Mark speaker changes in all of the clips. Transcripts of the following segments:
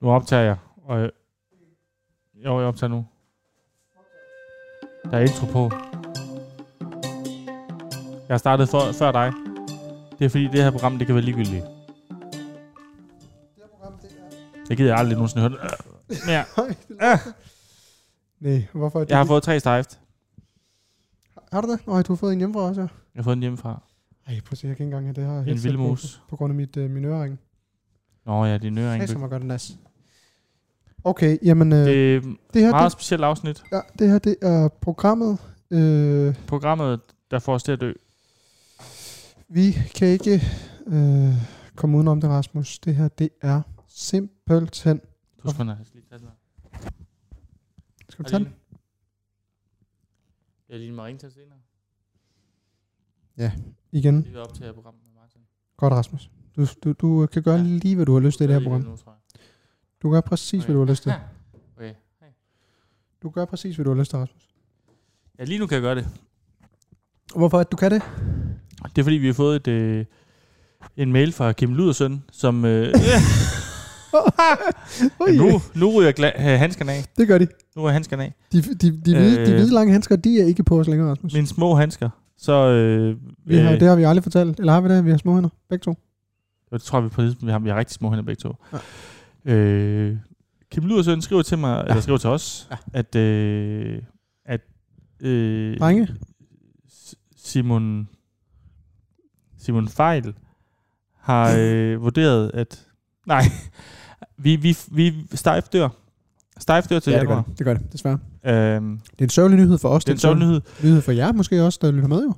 Speaker 1: Nu optager jeg. Og jeg... Jo, jeg optager nu. Der er intro på. Jeg startede for, før dig. Det er fordi, det her program, det kan være ligegyldigt.
Speaker 2: Det her program, det er...
Speaker 1: Det gider jeg aldrig nogensinde høre. Øh, mere.
Speaker 2: Høj, det
Speaker 1: Ah.
Speaker 2: Nej, hvorfor er det?
Speaker 1: Jeg har fået tre stejft.
Speaker 2: har du det? Nej, du har fået en hjemmefra også, ja.
Speaker 1: Jeg har fået den hjemmefra.
Speaker 2: Ej, prøv at se, jeg kan ikke engang have det her.
Speaker 1: En
Speaker 2: headset
Speaker 1: vildmus.
Speaker 2: På, på grund af mit, øh, min ørering.
Speaker 1: Nå ja, det er en
Speaker 2: Ej,
Speaker 1: øring.
Speaker 2: så må godt nas. Okay, jamen, øh, det,
Speaker 1: Det er et
Speaker 2: det, her,
Speaker 1: meget
Speaker 2: det,
Speaker 1: specielt afsnit.
Speaker 2: ja, det her, det er programmet. Øh,
Speaker 1: Programmet, der får os til at dø.
Speaker 2: vi kan ikke øh, komme udenom det, Rasmus. Det her, det er simpelthen...
Speaker 1: Du skal okay. lige tage den her.
Speaker 2: Skal vi tage den?
Speaker 1: Jeg er lige med ringe til senere.
Speaker 2: Igen.
Speaker 1: Lige ved optage programmet med Martin.
Speaker 2: Godt, Rasmus. Du, du, du øh, kan gøre
Speaker 1: Ja.
Speaker 2: lige, hvad du har lyst til i det her program.
Speaker 1: Nu, tror jeg.
Speaker 2: Du gør præcis, hvad du har lyst til.
Speaker 1: Okay. Hej.
Speaker 2: Du gør præcis, hvad du har lyst til, Rasmus.
Speaker 1: Ja, lige nu kan jeg gøre det.
Speaker 2: Hvorfor at du kan det?
Speaker 1: Det er fordi, vi har fået et, øh, en mail fra Kim Ludersøn, som... Øh,
Speaker 2: Ui,
Speaker 1: nu, nu ryger gla- øh, handskerne af.
Speaker 2: Det gør de.
Speaker 1: Nu er handskerne af.
Speaker 2: De, de, de, hvide, de
Speaker 1: Øh.
Speaker 2: hvide lange handsker, de er ikke på os længere, Rasmus.
Speaker 1: Mine små handsker. Så øh,
Speaker 2: Vi har,
Speaker 1: øh,
Speaker 2: det har vi aldrig fortalt. Eller har vi det? Vi har små hænder. Begge to.
Speaker 1: Og det tror jeg, vi på et tidspunkt, vi har, vi har rigtig små hænder begge to.
Speaker 2: Ja.
Speaker 1: Øh, Kim Ludersøn skriver til mig, ja. eller skriver til os,
Speaker 2: Ja.
Speaker 1: ja. at, øh, at øh,
Speaker 2: Drenge.
Speaker 1: S- Simon, Simon Fejl har øh, vurderet, at nej, vi, vi, vi stejft dør. Stejft dør til ja, januar.
Speaker 2: det. Det gør det, desværre.
Speaker 1: Øhm,
Speaker 2: Det er en sørgelig nyhed for os.
Speaker 1: det er en sjov nyhed.
Speaker 2: sørgelig nyhed for jer måske også, der lytter med jo.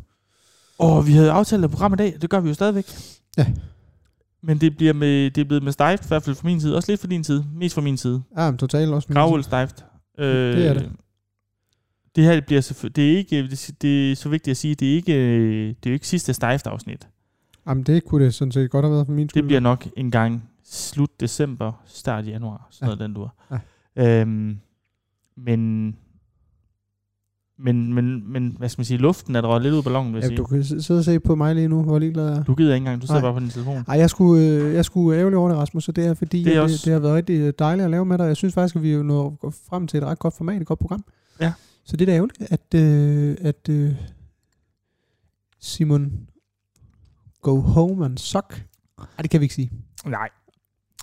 Speaker 1: Og vi havde aftalt et program i dag, det gør vi jo stadigvæk.
Speaker 2: Ja.
Speaker 1: Men det, bliver med, det er blevet med stejft, i hvert fald fra min side. Også lidt fra din side. Mest fra min side.
Speaker 2: Ja, men totalt også.
Speaker 1: Gravøl stejft. Øh,
Speaker 2: Det er det.
Speaker 1: Det her bliver selvfø- det er ikke det, det er så vigtigt at sige, det er ikke øh, det er jo ikke sidste stejft afsnit.
Speaker 2: Jamen, det kunne det sådan set godt have været for min skyld.
Speaker 1: Det bliver nok en gang slut december, start januar, sådan noget ja. den dur.
Speaker 2: Ja.
Speaker 1: Øhm, men men, men, men, hvad skal man sige, luften er der røget lidt ud af ballonen, vil jeg
Speaker 2: ja,
Speaker 1: sige.
Speaker 2: du
Speaker 1: Du,
Speaker 2: kan s- sidde og se på mig lige nu, hvor ligeglad jeg er.
Speaker 1: gider ikke engang, du sidder
Speaker 2: Nej.
Speaker 1: bare på din telefon.
Speaker 2: Ej, jeg skulle, øh, jeg skulle ærgerlig over det, Rasmus, så det er fordi,
Speaker 1: Det er
Speaker 2: det,
Speaker 1: også-
Speaker 2: det, det har været rigtig øh, dejligt at lave med dig. Jeg synes faktisk, at vi er nået frem til et ret godt format, et godt program.
Speaker 1: Ja.
Speaker 2: Så det er da ærgerligt, at, øh, at øh, Simon go home and suck. Ej, det kan vi ikke sige.
Speaker 1: Nej.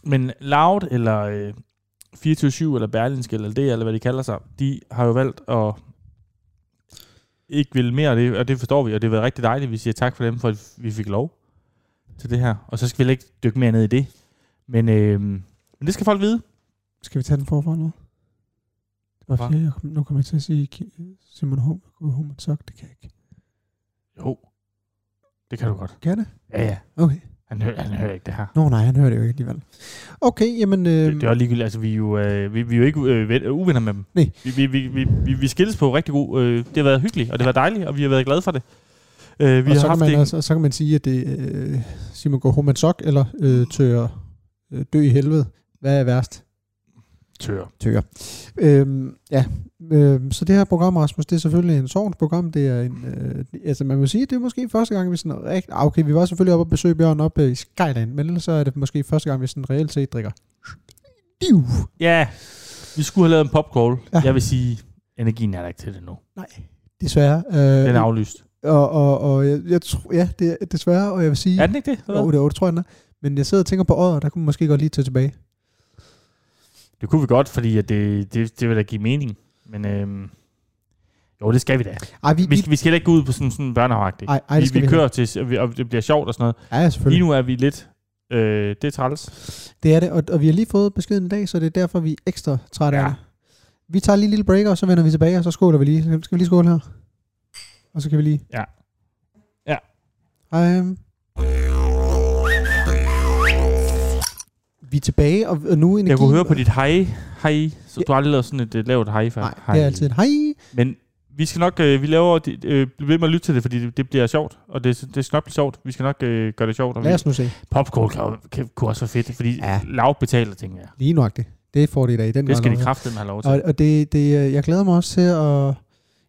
Speaker 1: Men Loud eller øh, 24 eller Berlinske eller det, eller hvad de kalder sig, de har jo valgt at ikke vil mere af det, og det forstår vi, og det har været rigtig dejligt, vi siger tak for dem, for at vi fik lov til det her. Og så skal vi heller ikke dykke mere ned i det. Men, øh, men det skal folk vide.
Speaker 2: Skal vi tage den forfra nu? Det var
Speaker 1: Hvorfor?
Speaker 2: fordi, jeg kom, nu kommer jeg til at sige Ki- Simon home, go home and suck. Det kan jeg ikke.
Speaker 1: Jo, det kan du godt.
Speaker 2: Kan jeg det?
Speaker 1: Ja, ja.
Speaker 2: Okay.
Speaker 1: Han, hører, han hører ikke det her.
Speaker 2: Nå nej, han hører det jo ikke alligevel. Okay, jamen... Øh,
Speaker 1: Det, det er også ligegyldigt. Altså, vi er jo, øh, vi, vi er jo ikke øh, ven- øh, uvenner med dem.
Speaker 2: Nej.
Speaker 1: Vi, vi, vi, vi, vi, vi skilles på rigtig god. Øh, det har været hyggeligt, og det har været dejligt, og vi har været glade for det. Øh, vi har
Speaker 2: og, så kan
Speaker 1: haft
Speaker 2: man,
Speaker 1: en,
Speaker 2: også, og så kan man sige, at det øh, Simon går home and sock, eller øh, tør øh, dø i helvede. Hvad er værst?
Speaker 1: tør.
Speaker 2: Tør. Øhm, ja, øhm, så det her program, Rasmus, det er selvfølgelig en sorgens program. Det er en, øh, altså man må sige, det er måske første gang, vi sådan rigtig... Ah, okay, vi var selvfølgelig oppe og besøge Bjørn op øh, i Skyland, men ellers så er det måske første gang, vi sådan reelt set drikker. Div.
Speaker 1: Ja, vi skulle have lavet en popcrawl.
Speaker 2: Ja.
Speaker 1: Ja. Jeg vil sige, energien er der ikke til det nu.
Speaker 2: Desværre. Øh,
Speaker 1: Den er aflyst.
Speaker 2: og, og, og jeg, jeg tror, ja, det er desværre, og jeg vil sige...
Speaker 1: Er den ikke det? Eller?
Speaker 2: Jo,
Speaker 1: hvad?
Speaker 2: det er 8, tror jeg, den er. Men jeg sidder og tænker på året, og der kunne man måske godt lige tage tilbage.
Speaker 1: Det kunne vi godt, fordi at det, det, det vil da give mening. Men øhm, jo, det skal vi da.
Speaker 2: Ej, vi,
Speaker 1: Vi skal, vi skal heller ikke gå ud på sådan sådan børnehavagtigt.
Speaker 2: ej, ej, det
Speaker 1: vi,
Speaker 2: skal vi,
Speaker 1: vi kører til, og vi- og det bliver sjovt og sådan noget.
Speaker 2: Ja,
Speaker 1: Lige
Speaker 2: selvfølgelig.
Speaker 1: nu er vi lidt, øh, det er træls.
Speaker 2: Det er det, og, og vi har lige fået beskeden i dag, så det er derfor, vi er ekstra trætte ja. af
Speaker 1: Ja.
Speaker 2: det. Vi tager lige en lille break, og så vender vi tilbage, og så skåler vi lige. Skal vi lige skåle her? Og så kan vi lige...
Speaker 1: Ja. Ja.
Speaker 2: Hej. øhm. Vi er tilbage, og, og nu er energi...
Speaker 1: Jeg kunne høre på dit hej, hej, så
Speaker 2: Ja.
Speaker 1: du har aldrig lavet sådan et øh, lavt hej før.
Speaker 2: Nej,
Speaker 1: hej.
Speaker 2: det er altid et hej.
Speaker 1: Men vi skal nok, øh, vi laver, det, øh, bliv ved med at lytte til det, fordi det, det bliver sjovt, og det, det skal nok blive sjovt. Vi skal nok øh, gøre det sjovt. Og vi,
Speaker 2: Lad os nu se.
Speaker 1: popcorn kan, jo- kan, kunne også være fedt, fordi
Speaker 2: Ja.
Speaker 1: ja. lav betaler, tænker jeg.
Speaker 2: Lige nøjagtigt. Det får de i dag. Den
Speaker 1: Det skal
Speaker 2: var
Speaker 1: de
Speaker 2: lavet.
Speaker 1: kraftedeme have lov til.
Speaker 2: Og, og det, det, øh, jeg glæder mig også til at...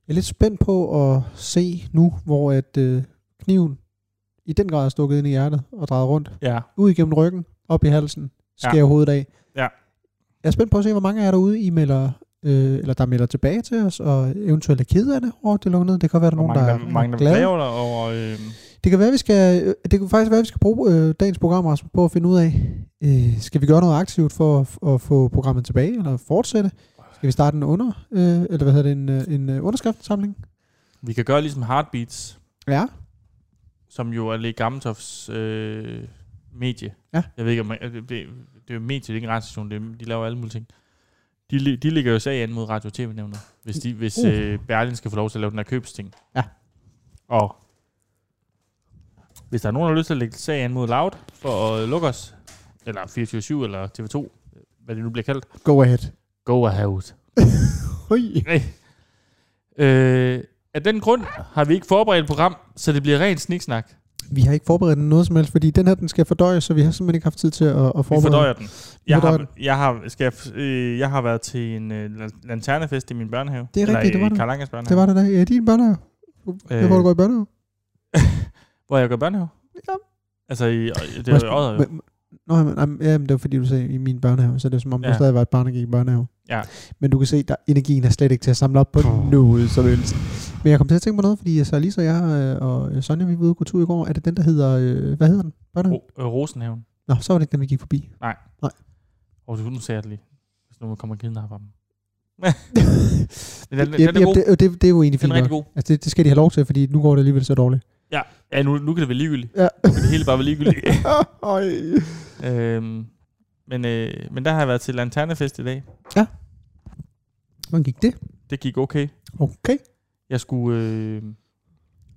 Speaker 2: Jeg er lidt spændt på at se nu, hvor at øh, kniven i den grad er stukket ind i hjertet og drejet rundt.
Speaker 1: Ja.
Speaker 2: Ud igennem ryggen, op i halsen, skærer
Speaker 1: Ja.
Speaker 2: hovedet af.
Speaker 1: Ja.
Speaker 2: Jeg er spændt på at se, hvor mange af jer derude, I melder, øh, eller der melder tilbage til os, og eventuelt er ked af det over det lukkede ned. Det kan være, der er
Speaker 1: Hvor
Speaker 2: nogen,
Speaker 1: mange,
Speaker 2: der,
Speaker 1: der, mange, der
Speaker 2: er glade.
Speaker 1: laver der over... Øh,
Speaker 2: Det kan være, vi skal, øh, det kan faktisk være, vi skal bruge øh, dagens program også på at finde ud af, øh, skal vi gøre noget aktivt for at, f- at få programmet tilbage, eller fortsætte? Skal vi starte en under, øh, eller hvad hedder det, en, øh, en øh, underskriftsamling?
Speaker 1: vi kan gøre ligesom Heartbeats,
Speaker 2: Ja.
Speaker 1: som jo er Le Gammeltofs øh, medie.
Speaker 2: Ja.
Speaker 1: Jeg ved ikke, om man, altså, det, det, det er jo et medie, det er ikke en radiostation, det, er- de laver alle mulige ting. De, li- de ligger jo sag an mod Radio- og TV-nævnet, hvis, de, hvis
Speaker 2: Uh.
Speaker 1: øh, Berlin skal få lov til at lave den her købsting.
Speaker 2: Ja.
Speaker 1: Og hvis der er nogen, der har lyst til at lægge sag an mod Loud for at lukke os, eller 24-7 eller TV2, hvad det nu bliver kaldt,
Speaker 2: Go ahead.
Speaker 1: go ahead.
Speaker 2: Ui.
Speaker 1: Nej. Øh, af den grund har vi ikke forberedt et program, så det bliver rent sniksnak. Vi
Speaker 2: Vi har ikke forberedt noget som helst, fordi den her, den skal fordøjes, så vi har simpelthen ikke haft tid til at, at forberede.
Speaker 1: fordøjer den. Jeg
Speaker 2: fordøjer
Speaker 1: har, jeg, har, skal jeg, f- øh, jeg har været til en øh, lan- lanternefest i min børnehave.
Speaker 2: Det er rigtigt, det var det.
Speaker 1: Karl Ankers børnehave.
Speaker 2: Det var det da. Ja, din børnehave. Det
Speaker 1: Øh,
Speaker 2: var, hvor du går i børnehave.
Speaker 1: Hvor jeg går i børnehave?
Speaker 2: Ja.
Speaker 1: Altså, i, øh, det
Speaker 2: Må
Speaker 1: er
Speaker 2: jeg
Speaker 1: jo
Speaker 2: spørge-
Speaker 1: odder, jo.
Speaker 2: men- Nå, men, jamen, ja, men det var fordi, du sagde i min børnehave, så det er som om, ja.
Speaker 1: Ja.
Speaker 2: du stadig var et barn, der gik i børnehave.
Speaker 1: Ja.
Speaker 2: Men du kan se, der energien er slet ikke til at samle op på
Speaker 1: Puh.
Speaker 2: noget som helst. Men jeg kom til at tænke på noget, fordi så Lisa og jeg øh, og øh, Sonja, vi var ude og gå tur i går. Er det den, der hedder, øh, hvad hedder den? Børnehave?
Speaker 1: Ro- øh, Rosenhaven.
Speaker 2: Nå, så var det ikke den, vi gik forbi.
Speaker 1: Og nu ser jeg det lige. Hvis nogen kommer og kidnapper dem. Men
Speaker 2: Ja,
Speaker 1: den, den, den er
Speaker 2: jamen,
Speaker 1: god.
Speaker 2: det, det, det, er jo egentlig
Speaker 1: Den
Speaker 2: fint
Speaker 1: er
Speaker 2: nok.
Speaker 1: rigtig god.
Speaker 2: Altså, det, det, skal de have lov til, fordi nu går det alligevel så dårligt.
Speaker 1: Ja, nu, nu kan det være ligegyldigt.
Speaker 2: Ja.
Speaker 1: Nu kan det hele bare være ligegyldigt.
Speaker 2: Øj.
Speaker 1: øhm, men, øh, men der har jeg været til lanternefest i dag.
Speaker 2: Hvordan gik det?
Speaker 1: Det gik okay.
Speaker 2: Okay.
Speaker 1: Jeg skulle... Øh,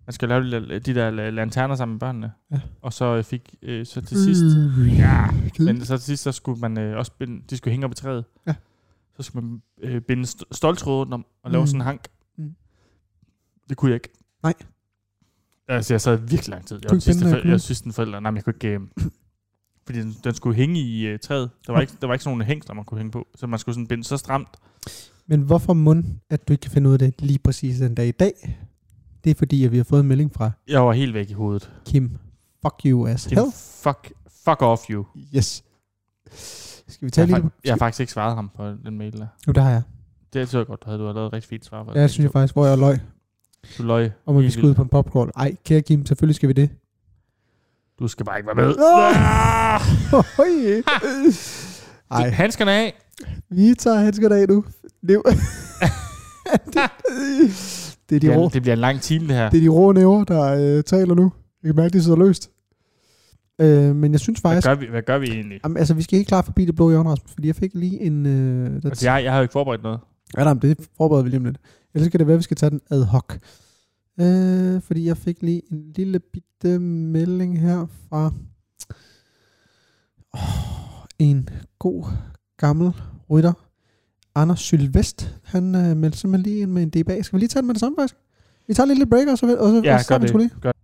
Speaker 1: man skal lave de der- de der la- lanterner sammen med børnene.
Speaker 2: Ja.
Speaker 1: Og så øh, fik... Øh, så til sidst...
Speaker 2: Mm, Ja.
Speaker 1: Men så til sidst, så skulle man øh, også binde, de skulle hænge op i træet.
Speaker 2: Ja.
Speaker 1: Så skulle man øh, binde st- stoltråd rundt om og lave
Speaker 2: Mm.
Speaker 1: sådan en hank.
Speaker 2: Mm.
Speaker 1: Det kunne jeg ikke.
Speaker 2: Nej.
Speaker 1: Altså, jeg sad virkelig lang tid. Jeg,
Speaker 2: Kunne
Speaker 1: var den sidste,
Speaker 2: ikke binde
Speaker 1: for,
Speaker 2: den her
Speaker 1: jeg
Speaker 2: knude?
Speaker 1: var sidste forælder. Nej, men jeg kunne ikke... Øh, fordi den, den, skulle hænge i øh, træet. Der var,
Speaker 2: Nå.
Speaker 1: ikke, der var ikke sådan nogle hængsler, man kunne hænge på. Så man skulle sådan binde så stramt.
Speaker 2: Men hvorfor mund, at du ikke kan finde ud af det lige præcis den dag i dag? Det er fordi, at vi har fået en melding fra
Speaker 1: Jeg var helt væk i hovedet.
Speaker 2: Kim. Fuck you as
Speaker 1: Kim,
Speaker 2: hell.
Speaker 1: fuck, fuck off you.
Speaker 2: Yes. Skal vi
Speaker 1: Jeg,
Speaker 2: tage lige...
Speaker 1: har, fak- jeg har faktisk ikke svaret ham på den mail der.
Speaker 2: Nu, der har jeg.
Speaker 1: Det synes jeg godt, du havde, du havde lavet et rigtig fint svar på.
Speaker 2: Ja, det synes jeg faktisk, hvor jeg løg,
Speaker 1: Du løg.
Speaker 2: om at vi
Speaker 1: Helt
Speaker 2: skal ud på en popcorn. Ej, kære Kim, selvfølgelig skal vi det.
Speaker 1: Du skal bare ikke være med.
Speaker 2: Åh!
Speaker 1: Ah!
Speaker 2: Ej,
Speaker 1: Handskerne af.
Speaker 2: vi tager handskerne af nu. Liv. det, det, er de
Speaker 1: Det,
Speaker 2: rå,
Speaker 1: er, det bliver en lang time, det her.
Speaker 2: det er de rå næver, der øh, taler nu. Jeg kan mærke, de sidder løst. Øh, men jeg synes
Speaker 1: Hvad
Speaker 2: faktisk...
Speaker 1: gør vi, hvad gør vi egentlig?
Speaker 2: Jamen, altså, vi skal helt klart forbi det blå hjørne, Rasmus, fordi jeg fik lige en... Øh, der
Speaker 1: Altså, jeg, jeg har jo ikke forberedt noget.
Speaker 2: Ja, nej, men det forbereder vi lige om lidt. Ellers kan det være, at vi skal tage den ad hoc. Øh, fordi jeg fik lige en lille bitte melding her fra oh, en god gammel rytter. Anders Sylvest, han øh, meldte simpelthen lige ind med en DBA. Skal vi lige tage den med det samme faktisk? Vi tager en lille break, og så, og så,
Speaker 1: Ja,
Speaker 2: og så
Speaker 1: gør
Speaker 2: tager vi den sgu lige.
Speaker 1: det. Gør det.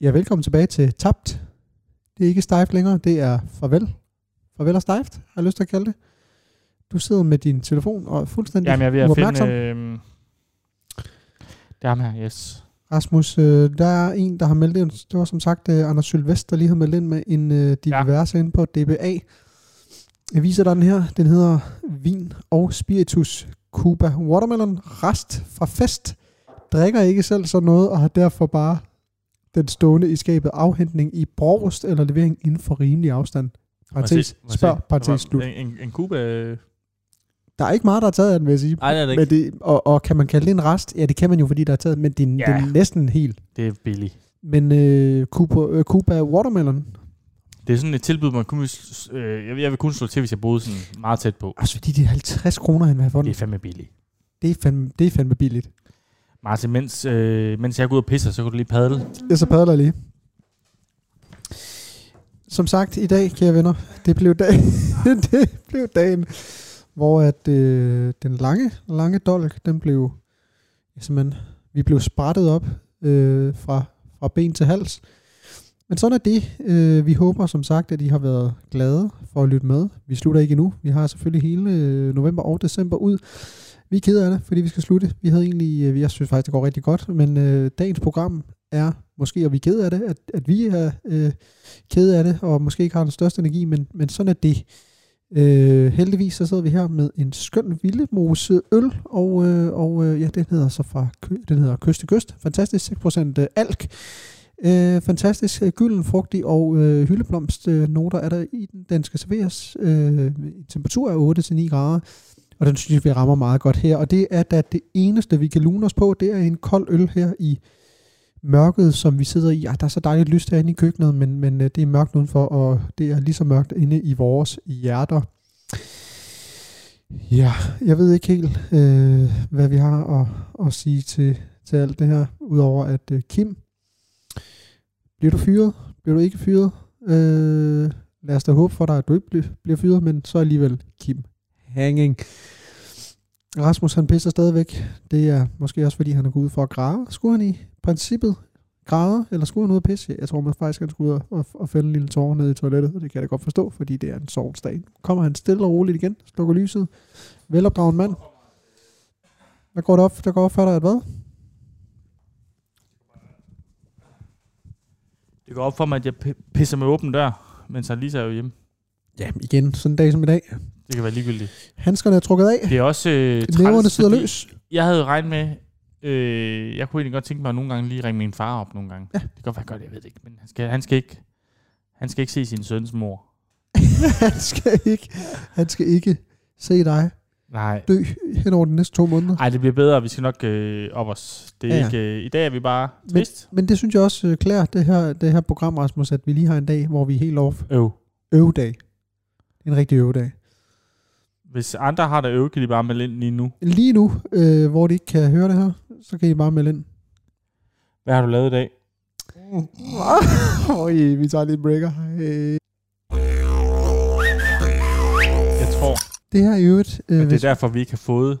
Speaker 2: Ja, velkommen tilbage til Tabt. Det er ikke stejft længere, det er farvel. Farvel og stejft, har jeg lyst til at kalde det. Du sidder med din telefon og er fuldstændig
Speaker 1: Jamen, jeg er ved at finde...
Speaker 2: uopmærksom.
Speaker 1: Øh, det er ham her, yes.
Speaker 2: Rasmus, øh, der er en, der har meldt ind. Det var som sagt øh, Anders Sylvest, der lige har meldt ind med en øh, diverse ja. inde på DBA. Jeg viser dig den her. Den hedder Vin og Spiritus Cuba Watermelon Rest fra Fest. Drikker ikke selv sådan noget, og har derfor bare den stående i skabet afhentning i brogst eller levering inden for rimelig afstand.
Speaker 1: Må jeg se-
Speaker 2: Parentes,
Speaker 1: må jeg se?
Speaker 2: spørg, parentes,
Speaker 1: Der var
Speaker 2: slut.
Speaker 1: En, en, en kuba... øh,
Speaker 2: Der er ikke meget, der er taget af den, vil jeg sige.
Speaker 1: Ej, det er det
Speaker 2: Men
Speaker 1: ikke.
Speaker 2: det, og, og kan man kalde det en rest? Ja, det kan man jo, fordi der er taget, men det, er- det
Speaker 1: Ja.
Speaker 2: er næsten helt.
Speaker 1: Det er billigt.
Speaker 2: Men øh, Cuba, øh, Cuba Watermelon,
Speaker 1: Det er sådan et tilbud, man kun... vil s- Øh, jeg, vil- jeg vil kun slå til, hvis jeg boede sådan meget tæt på.
Speaker 2: også fordi det er 50 kroner, han vil have for
Speaker 1: Det
Speaker 2: den.
Speaker 1: er fandme billigt.
Speaker 2: Det er fandme, det er fandme billigt.
Speaker 1: Martin, mens, øh, mens jeg går ud og pisser, så kan du lige padle.
Speaker 2: Jeg så padler lige. Som sagt, i dag, kære venner, det blev, dag, det blev dagen, hvor at, øh, den lange, lange dolk, den blev, ja, simpelthen, vi blev sprættet op øh, fra, fra ben til hals. Men sådan er det. Øh, vi håber som sagt, at I har været glade for at lytte med. Vi slutter ikke endnu. Vi har selvfølgelig hele øh, november og december ud. Vi er ked af det, fordi vi skal slutte. Vi havde egentlig, øh, jeg synes faktisk, det går rigtig godt, men øh, dagens program er måske, og vi er ked af det, at, at vi er øh, ked af det, og måske ikke har den største energi, men, men sådan er det. Øh, heldigvis så sidder vi her med en skøn vildemose øl, og, øh, og øh, ja, den hedder så fra kø- den hedder Kyst til Kyst. Fantastisk, 6% øh, alk. Øh, fantastisk øh, gylden, frugtig og øh, hyldeblomst øh, noter er der i den. Den skal serveres øh, i temperatur af 8-9 grader, og den synes jeg, vi rammer meget godt her. Og det er da det eneste, vi kan lune os på, det er en kold øl her i mørket, som vi sidder i. Ej, der er så dejligt lyst herinde i køkkenet, men, men øh, det er mørkt udenfor, og det er lige så mørkt inde i vores hjerter. Ja, jeg ved ikke helt, øh, hvad vi har at, at sige til, til alt det her, udover at øh, Kim, bliver du fyret? Bliver du ikke fyret? Øh, lad os da håbe for dig, at du ikke bliver, bliver fyret, men så alligevel Kim Hanging. Rasmus han pisser stadigvæk. Det er måske også fordi, han er gået ud for at græde. Skulle han i princippet græde, eller skulle han ud og pisse? Jeg tror man faktisk, han skulle ud og, og fælde en lille tårer ned i toilettet, og det kan jeg da godt forstå, fordi det er en sovens dag. Nu kommer han stille og roligt igen, slukker lyset. Velopdragen mand. Der går det op, der går op for dig, at hvad?
Speaker 1: Det går op for mig, at jeg p- pisser med åben dør, mens han lige er jo hjemme.
Speaker 2: Jamen igen, sådan en dag som i dag.
Speaker 1: Det kan være ligegyldigt.
Speaker 2: Handskerne er trukket af.
Speaker 1: Det er også øh,
Speaker 2: Leverne sidder
Speaker 1: fordi
Speaker 2: løs.
Speaker 1: Jeg havde regnet med, øh, jeg kunne egentlig godt tænke mig at nogle gange lige ringe min far op nogle gange. Ja. Det kan godt være godt, jeg ved det ikke, men han skal, han skal ikke, han skal ikke se sin søns mor.
Speaker 2: han skal ikke, han skal ikke se dig
Speaker 1: Nej.
Speaker 2: dø hen over de næste to måneder.
Speaker 1: Nej, det bliver bedre. Vi skal nok øh, op os. Det er
Speaker 2: Ja,
Speaker 1: ja, ja.
Speaker 2: ja.
Speaker 1: ikke, øh, I dag er vi bare
Speaker 2: Men-
Speaker 1: trist.
Speaker 2: Men det synes jeg også øh, klæder det her, det her program, Rasmus, at vi lige har en dag, hvor vi er helt off.
Speaker 1: Øv.
Speaker 2: Øvedag. En rigtig øvedag.
Speaker 1: Hvis andre har der øv, kan de bare melde ind lige nu.
Speaker 2: Lige nu, øh, hvor de ikke kan høre det her, så kan I bare melde ind.
Speaker 1: Hvad har du lavet i dag?
Speaker 2: Øj, vi tager lige en breaker. Øh,
Speaker 1: Jeg tror,
Speaker 2: Det her er i øvrigt... Øh,
Speaker 1: at det
Speaker 2: hvis-
Speaker 1: er derfor, vi ikke har fået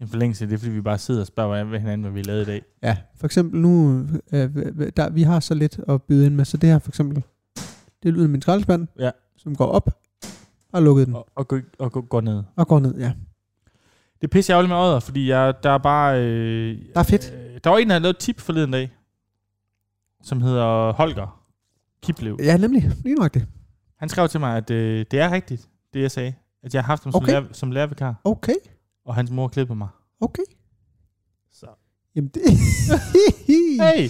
Speaker 1: en forlængelse. Det er, fordi vi bare sidder og spørger hvad- hinanden, hvad vi lavede i dag.
Speaker 2: Ja, for eksempel nu, øh, øh, der, vi har så lidt at byde ind med, så det her for eksempel, det er lyden af min skraldespand,
Speaker 1: Ja.
Speaker 2: som går op og lukket den,
Speaker 1: Og, og, gå, og gå, gå ned.
Speaker 2: og går ned, ja.
Speaker 1: Det er pisse ærgerligt med ådder, fordi jeg, der er bare... Øh,
Speaker 2: Der er fedt.
Speaker 1: Øh, der var en, der havde lavet et tip forleden dag, som hedder Holger Kiblev.
Speaker 2: Ja, nemlig, lige nok det.
Speaker 1: Han skrev til mig, at øh, det er rigtigt, det jeg sagde. At jeg har haft ham som,
Speaker 2: Okay.
Speaker 1: lærer, som lærervikar,
Speaker 2: Okay,
Speaker 1: og hans mor klippede mig.
Speaker 2: okay.
Speaker 1: Så.
Speaker 2: Jamen det...
Speaker 1: Hey!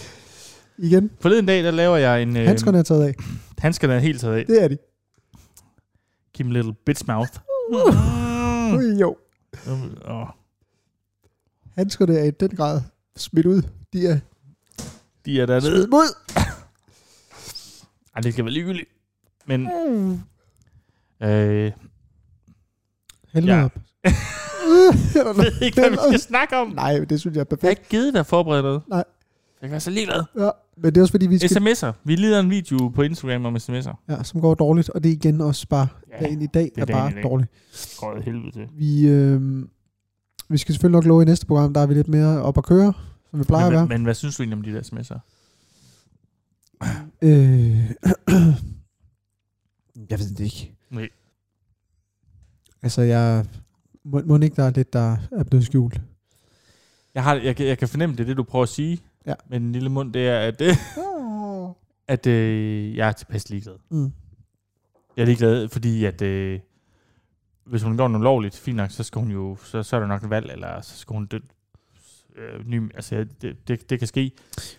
Speaker 2: Igen,
Speaker 1: Forleden dag, der laver jeg en... Øh,
Speaker 2: handskerne er taget af.
Speaker 1: Handskerne er helt taget af.
Speaker 2: Det er de.
Speaker 1: Kim Little Bitch Mouth. Uh. Mm.
Speaker 2: Ui, jo,
Speaker 1: Åh,
Speaker 2: handskerne er i den grad smidt ud. De er
Speaker 1: de er dernede.
Speaker 2: smidt ud.
Speaker 1: Ej, det skal være ligegyldigt. Men...
Speaker 2: Mm.
Speaker 1: Øh,
Speaker 2: Hælder
Speaker 1: Ja.
Speaker 2: op. Øh, er der
Speaker 1: jeg ved ikke, hvad vi skal snakke om.
Speaker 2: noget- Nej, men det synes jeg er
Speaker 1: Jeg har
Speaker 2: perfekt.
Speaker 1: ikke givet dig at forberede noget.
Speaker 2: Nej.
Speaker 1: Jeg kan være så ligeglad.
Speaker 2: Ja, men det er også fordi, vi skal...
Speaker 1: SMS'er. Vi lider en video på Instagram om sms'er.
Speaker 2: Ja, som går dårligt, og det er igen også bare...
Speaker 1: Ja,
Speaker 2: Dagen i dag
Speaker 1: er
Speaker 2: er
Speaker 1: dagen
Speaker 2: bare
Speaker 1: i dag.
Speaker 2: dårlig.
Speaker 1: det går af helvede til.
Speaker 2: Vi, øh, vi skal selvfølgelig nok love i næste program, der er vi lidt mere op at køre, som vi plejer at
Speaker 1: Men,
Speaker 2: være.
Speaker 1: men, men hvad synes du egentlig om de der sms'er?
Speaker 2: Øh, jeg ved det ikke.
Speaker 1: Nej.
Speaker 2: Altså, jeg... Må, må ikke, der er lidt, der er blevet skjult?
Speaker 1: Jeg, har, jeg, kan- jeg kan fornemme, det er det, du prøver at sige.
Speaker 2: Ja. Ah.
Speaker 1: Men den lille mund, det er, at, øh, at øh, jeg er tilpas ligeglad.
Speaker 2: Mm.
Speaker 1: Jeg er ligeglad, fordi at... Øh, hvis hun gør noget lovligt, fint nok, så skal hun jo... Så, så er der nok et valg, eller så skal hun dø. Øh, ny, altså, ja, det, det, det kan ske.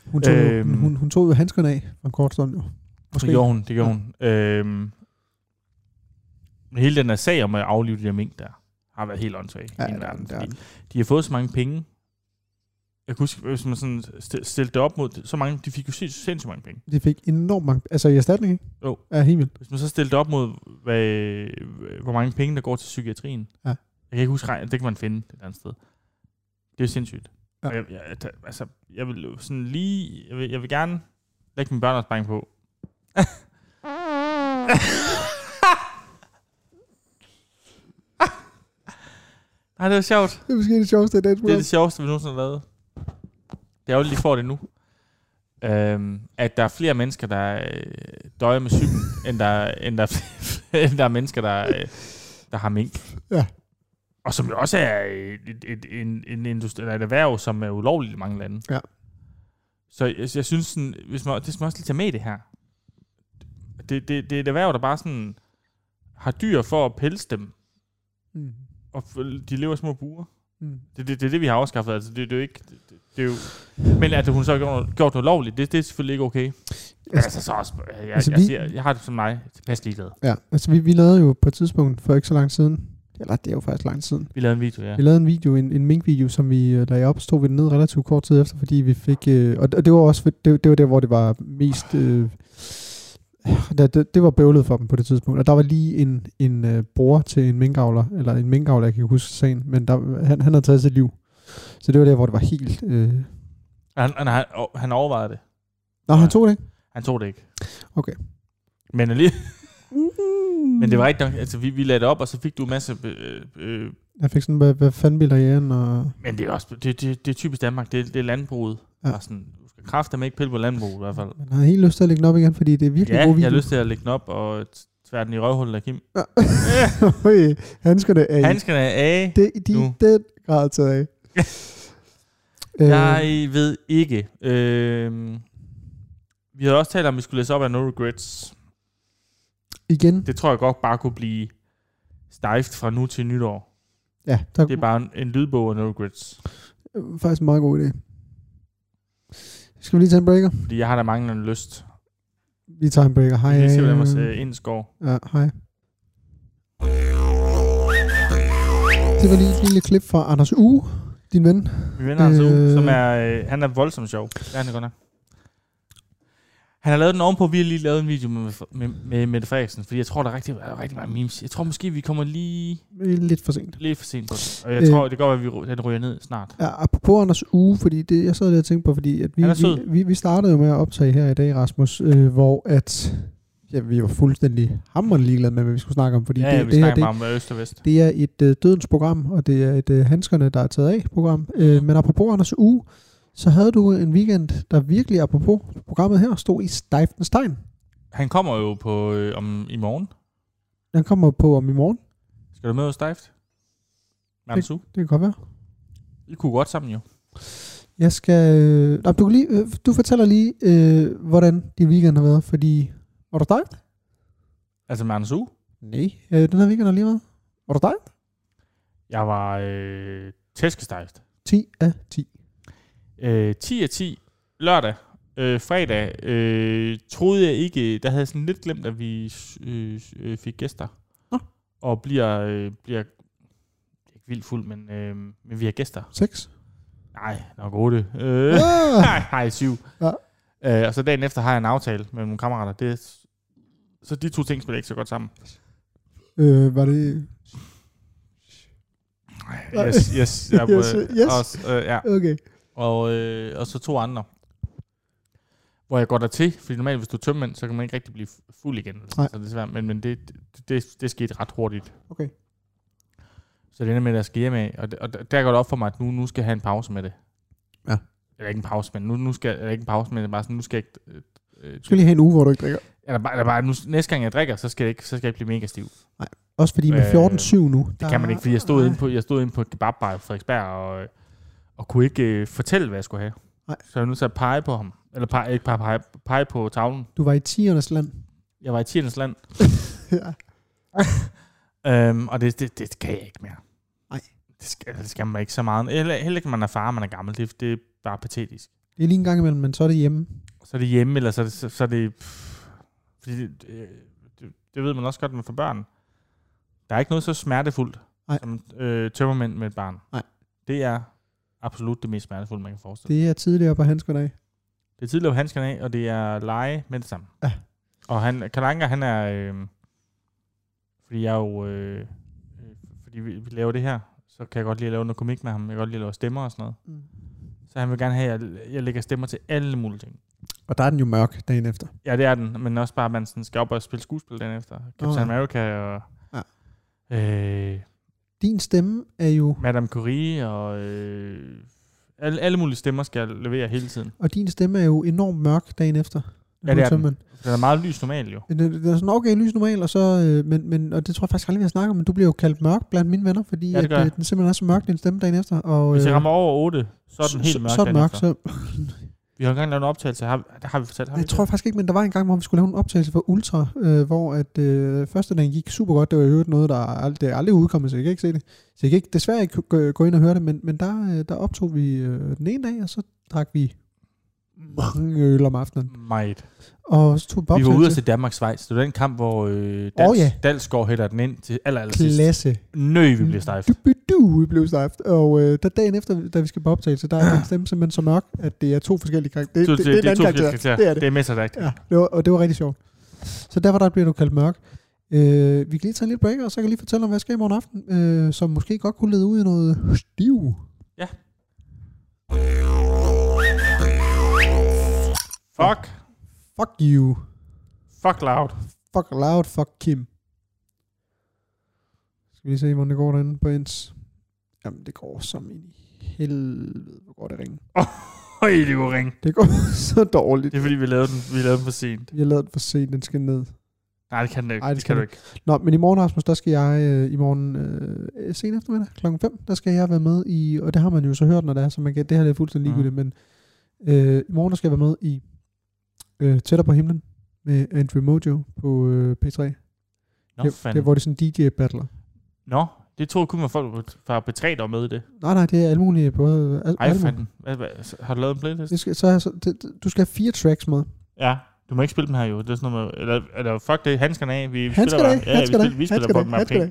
Speaker 2: Hun, tog øhm. jo,
Speaker 1: Øhm.
Speaker 2: hun, hun tog jo handskerne af for en kort stund, jo.
Speaker 1: Det gjorde hun, det gjorde hun. Øhm, men hele den her sag om at aflive de der mink der, har været helt åndssvag.
Speaker 2: Ja,
Speaker 1: i min
Speaker 2: det er
Speaker 1: verden,
Speaker 2: den, det er
Speaker 1: fordi
Speaker 2: den.
Speaker 1: De har fået så mange penge. Jeg kan huske, hvis man sådan st- stillede det op mod, så mange, de fik jo sinds- sindssygt mange penge.
Speaker 2: De fik enormt mange... Altså, i erstatning, ikke?
Speaker 1: Jo.
Speaker 2: Ja, helt vildt.
Speaker 1: Hvis man så stillede det op mod, hvad, hvor mange penge, der går til psykiatrien.
Speaker 2: Ja.
Speaker 1: Jeg kan ikke huske, regn- det kan man finde et andet sted. Det er jo sindssygt.
Speaker 2: Ja.
Speaker 1: Ja. Jeg, jeg, der- altså, jeg vil jo sådan lige, jeg vil, jeg vil gerne lægge min børneopsparing på. Nej, det var sjovt.
Speaker 2: Det er måske det sjoveste i dansk
Speaker 1: Det er
Speaker 2: program.
Speaker 1: det sjoveste, vi nogensinde har lavet. Det er jo, at de får det nu. Øhm, at der er flere mennesker, der øh, døjer med syg, end der, end, der, end der er mennesker, der, øh, der har mink.
Speaker 2: Ja.
Speaker 1: og som jo også er et, et, en, en industri, eller et erhverv, som er ulovligt i mange lande.
Speaker 2: Ja.
Speaker 1: Så jeg, jeg synes, sådan, hvis man, det skal man også lige tage med i det her. Det, det, det er et erhverv, der bare sådan har dyr for at pelse dem,
Speaker 2: Mm.
Speaker 1: og f- de lever i små buer.
Speaker 2: Mm.
Speaker 1: Det er det, det, er det, vi har afskaffet. Altså, det, det er jo ikke... Det, det, det er jo, men at hun så har gjort noget, gjort noget lovligt, det, det er selvfølgelig ikke okay. Men
Speaker 2: Altså-
Speaker 1: altså, så også, jeg, jeg,
Speaker 2: Altså,
Speaker 1: jeg,
Speaker 2: vi-
Speaker 1: siger, jeg har det som mig tilpas ligeglad.
Speaker 2: Ja, altså vi, vi lavede jo på et tidspunkt for ikke så lang tid siden, eller det er jo faktisk lang tid siden,
Speaker 1: Vi lavede en video, ja.
Speaker 2: Vi lavede en video, en, en mink-video, som vi øh, lagde op, så tog vi den ned relativt kort tid efter, fordi vi fik... Øh, og det, og det var også for- det, det var der, hvor det var mest... Øh, der, det, det var bøvlet for dem på det tidspunkt. Og der var lige en, en øh, bror til en minkavler, eller en minkavler, jeg kan ikke huske sagen, men der, han, han havde taget sit liv. Så det var der, hvor det var helt... Øh,
Speaker 1: Han, han, han, han overvejede det.
Speaker 2: Nå, han tog det ikke?
Speaker 1: Han tog det ikke.
Speaker 2: Okay.
Speaker 1: Men, alli- men det var rigtigt nok. Altså, vi, vi lagde det op, og så fik du en masse... Øh, øh,
Speaker 2: Jeg fik sådan, hvad, hvad fanden bilder jeg an, og...
Speaker 1: men det er også det, det, det er typisk Danmark. Det, det er landbruget.
Speaker 2: Ja.
Speaker 1: Ja. Og sådan, du skal kræfte ikke pille på landbruget i hvert fald.
Speaker 2: Man har helt lyst til at lægge den op igen, fordi det er virkelig
Speaker 1: Ja,
Speaker 2: god
Speaker 1: jeg
Speaker 2: video.
Speaker 1: har lyst til at lægge den op og tvære den i røvhullet af Kim.
Speaker 2: lyst. Handskerne er i
Speaker 1: Han skal af.
Speaker 2: Det, de er i
Speaker 1: Nu.
Speaker 2: den grad taget af. øh,
Speaker 1: Jeg ved ikke. Øh, vi havde også talt om, at vi skulle læse op af No Regrets.
Speaker 2: igen,
Speaker 1: Det tror jeg godt bare kunne blive stejft fra nu til nytår.
Speaker 2: ja, der,
Speaker 1: Det er bare en, en lydbog af No Regrets.
Speaker 2: øh, faktisk en meget god idé. Skal vi lige tage en breaker?
Speaker 1: Fordi jeg har da manglende lyst.
Speaker 2: Vi tager en breaker. Hej.
Speaker 1: Jeg kan se, hvordan man
Speaker 2: øh,
Speaker 1: ser ind skov.
Speaker 2: Ja, hej. Det var lige et lille klip fra Anders U, din ven.
Speaker 1: Min ven Anders øh...
Speaker 2: Øh.
Speaker 1: som er, øh, han er voldsomt sjov. Det er han godt nok. Han har lavet den ovenpå, vi har lige lavet en video med, med, med Mette Frederiksen, fordi jeg tror, der er rigtig, der er rigtig mange memes. Jeg tror måske, vi kommer lige
Speaker 2: Lidt for sent.
Speaker 1: lidt for sent på den. Og jeg
Speaker 2: Øh.
Speaker 1: øh... tror, det går, at vi, ry- den ryger ned snart.
Speaker 2: Ja, apropos Anders U, fordi det, jeg sad lige og tænkte på, fordi at vi,
Speaker 1: Han er sød.
Speaker 2: vi, vi, vi startede jo med at optage her i dag, Rasmus, øh, hvor at ja, vi var fuldstændig hammerende ligeglade med, hvad vi skulle snakke om, fordi
Speaker 1: Ja,
Speaker 2: det,
Speaker 1: ja, vi
Speaker 2: det her,
Speaker 1: snakker
Speaker 2: det,
Speaker 1: bare om øh, øst og vest.
Speaker 2: Det er et øh, dødens program, og det er et øh, handskerne, der er taget af program.
Speaker 1: Mhm.
Speaker 2: Øh, men apropos Anders uge, så havde du en weekend, der virkelig apropos programmet her, stod i Steifen
Speaker 1: Han kommer jo på øh, om i morgen.
Speaker 2: Den kommer på om i morgen.
Speaker 1: Skal du med hos Steift? Mamsu.
Speaker 2: Det kan godt være.
Speaker 1: I kunne godt sammen jo.
Speaker 2: Jeg skal... Øh, nej, du, kan lige, øh, du fortæller lige, øh, hvordan din weekend har været, fordi... Var du stejt?
Speaker 1: Altså med Anders U.
Speaker 2: Nej. Øh, den her weekend har lige været. Var du stejt?
Speaker 1: Jeg var øh, tæskestejft.
Speaker 2: 10 af 10.
Speaker 1: Øh, 10 af 10 lørdag, øh, fredag, øh, troede jeg ikke, der havde jeg sådan lidt glemt, at vi øh, øh, fik gæster.
Speaker 2: Nå.
Speaker 1: Og bliver, øh, bliver ikke vildt fuld, men, øh, men vi har gæster.
Speaker 2: 6.
Speaker 1: Nej, nok 8. Øh,
Speaker 2: Ah!
Speaker 1: nej, nej, 7.
Speaker 2: Ja.
Speaker 1: Øh, og så dagen efter har jeg en aftale med nogle kammerater. Det, så de to ting spiller ikke så godt sammen.
Speaker 2: Øh, var det... Nej.
Speaker 1: Yes, yes. Jeg,
Speaker 2: Yes, yes.
Speaker 1: Og, øh, ja.
Speaker 2: Okay.
Speaker 1: og, øh, og så to andre. Hvor jeg går der til, fordi normalt hvis du er tømmand, så kan man ikke rigtig blive fu- fuld igen.
Speaker 2: Nej.
Speaker 1: Så det er svært, men, men det, det, det, det skete ret hurtigt.
Speaker 2: Okay.
Speaker 1: Så det ender med, at jeg skal hjem af, og, det- og der- der går det op for mig, at nu, nu skal jeg have en pause med det.
Speaker 2: Ja.
Speaker 1: Eller ikke en pause, men nu, nu skal jeg, eller ikke en pause, men det er bare sådan, nu skal jeg ikke... Øh,
Speaker 2: Du skal lige have en uge, hvor du ikke drikker.
Speaker 1: eller bare, eller bare nu, næste gang jeg drikker, så skal jeg ikke, så skal jeg ikke blive mega stiv.
Speaker 2: Også fordi med
Speaker 1: Øh,
Speaker 2: 14-7 nu... Ah,
Speaker 1: Det kan man ikke, fordi jeg stod inde på, jeg stod inde på et kebabbar i Frederiksberg, og, og kunne ikke øh, fortælle, hvad jeg skulle have.
Speaker 2: Nej.
Speaker 1: Så jeg var nødt til at pege på ham. Eller pege, ikke pege, pege, pege på tavlen.
Speaker 2: Du var i 10'ernes land.
Speaker 1: Jeg var i Tiernes land,
Speaker 2: ja.
Speaker 1: øhm, og det, det, det, kan jeg ikke mere.
Speaker 2: Nej.
Speaker 1: Det skal, det skal man ikke så meget. Heller, heller ikke, når man er far, og man er gammel. Det, det er bare patetisk.
Speaker 2: Det er lige en gang imellem, men så er det hjemme.
Speaker 1: Så er det hjemme, eller så er det... Så, så er det pff, fordi det, øh, det, det, ved man også godt, når man får børn. Der er ikke noget så smertefuldt,
Speaker 2: Nej.
Speaker 1: som øh, tømmermænd med et barn.
Speaker 2: Nej.
Speaker 1: Det er absolut det mest smertefulde, man kan forestille sig.
Speaker 2: Det er tidligere på handskerne af.
Speaker 1: Det er tidligere på handskerne af, og det er lege med det samme.
Speaker 2: Ja.
Speaker 1: Og han, Kalanka, han er... Øh, fordi jeg er jo... Øh, øh, fordi vi, vi laver det her, så kan jeg godt lide at lave noget komik med ham. Jeg kan godt lide at lave stemmer og sådan noget.
Speaker 2: Mm.
Speaker 1: Så han vil gerne have, at jeg, jeg lægger stemmer til alle mulige ting.
Speaker 2: Og der er den jo mørk dagen efter.
Speaker 1: Ja, det er den, men også bare, at man sådan skal op og spille skuespil den efter. Captain
Speaker 2: Åh, ja.
Speaker 1: America og...
Speaker 2: Ja.
Speaker 1: Øh,
Speaker 2: Din stemme er jo...
Speaker 1: Madame Curie og... Øh, alle, alle mulige stemmer skal jeg levere hele tiden.
Speaker 2: Og din stemme er jo enormt mørk dagen efter.
Speaker 1: Ja, det er
Speaker 2: Tømmermænd.
Speaker 1: Den er meget lys normalt jo.
Speaker 2: Den er- den er sådan okay lys normal, og, så, øh, men, men, og det tror jeg faktisk aldrig, vi har snakket om, men du bliver jo kaldt mørk blandt mine venner, fordi
Speaker 1: Ja,
Speaker 2: ja,
Speaker 1: det gør
Speaker 2: at, øh,
Speaker 1: jeg.
Speaker 2: den simpelthen er så mørk, din stemme dagen efter. Og,
Speaker 1: Hvis jeg
Speaker 2: øh,
Speaker 1: rammer over 8, så er den helt mørk.
Speaker 2: Så, så er den
Speaker 1: dagen
Speaker 2: mørk,
Speaker 1: efter.
Speaker 2: så,
Speaker 1: Vi har engang lavet en optagelse, har, der har vi fortalt ham.
Speaker 2: Jeg tror faktisk ikke, men der var en gang, hvor vi skulle lave en optagelse for Ultra, øh, hvor at, øh, første dagen gik super godt. Det var i øvrigt noget, der ald- det er aldrig udkommet, så jeg kan ikke se det. Så jeg kan ikke, desværre ikke gå- gå ind og høre det, men, men der, øh, der optog vi øh, den ene dag, og så drak vi mange øl om aftenen.
Speaker 1: Meget.
Speaker 2: Og så tog vi på
Speaker 1: Vi var ude
Speaker 2: optagelse.
Speaker 1: til Danmark Schweiz. Det var den kamp, hvor øh, Dals,
Speaker 2: Åh,
Speaker 1: oh,
Speaker 2: ja.
Speaker 1: ja. Dalsgaard hælder den ind til aller, aller sidst.
Speaker 2: Klasse.
Speaker 1: Nø, vi bliver stejf.
Speaker 2: Du, du, du, vi blev stejft. Og øh, der dagen efter, da vi skal på optagelse, der er den stemme simpelthen så mørk, at det er to forskellige karakterer. Det, det, det, det, er en anden karakter. Det er det.
Speaker 1: Det er med sig rigtigt.
Speaker 2: Ja, det var, og det var rigtig sjovt. Så derfor der bliver du kaldt mørk. Øh, vi kan lige tage en lille break, og så kan jeg lige fortælle om, hvad der sker i morgen aften, øh, som måske godt kunne lede ud i noget stiv.
Speaker 1: Fuck.
Speaker 2: Fuck you.
Speaker 1: Fuck loud.
Speaker 2: Fuck loud. Fuck Kim. Skal vi lige se, hvordan det går derinde på ens. Jamen, det går som i helvede, hvor går det ringe.
Speaker 1: Høj, det var ring.
Speaker 2: Det går så dårligt.
Speaker 1: Det er fordi, vi lavede den, vi lavede den for sent.
Speaker 2: Jeg lavede den for sent, den skal ned.
Speaker 1: Nej, det kan den ikke.
Speaker 2: Ej,
Speaker 1: Ej,
Speaker 2: det
Speaker 1: det,
Speaker 2: skal
Speaker 1: kan du ikke.
Speaker 2: Nå, men i morgen, Rasmus, der skal jeg øh, i morgen øh, sen eftermiddag kl. 5, der skal jeg være med i, og det har man jo så hørt, når det er, så man kan, det her det er fuldstændig ligegyldigt, mm. men øh, i morgen, der skal jeg være med i øh, Tættere på himlen med Andrew Mojo på øh, P3.
Speaker 1: Nå,
Speaker 2: det, det, er,
Speaker 1: fanden.
Speaker 2: hvor det er sådan DJ-battler.
Speaker 1: Nå, det troede kun, at folk fra B3, der var med i det.
Speaker 2: Nej, nej, det er alle mulige. Både, al,
Speaker 1: Ej,
Speaker 2: alle mulige.
Speaker 1: fanden. Hvad- hvad- Har du lavet en playlist?
Speaker 2: Det skal, så, er- så, det, det- du skal have fire tracks med.
Speaker 1: Ja, du må ikke spille den her jo. Det er sådan noget med, eller, eller fuck det, handskerne af. Vi
Speaker 2: Han skal
Speaker 1: spiller
Speaker 2: da,
Speaker 1: bare- ja,
Speaker 2: han skal
Speaker 1: vi
Speaker 2: da,
Speaker 1: spiller, vi
Speaker 2: han
Speaker 1: spiller
Speaker 2: skal da,
Speaker 1: fucking
Speaker 2: han
Speaker 1: mange
Speaker 2: skal da.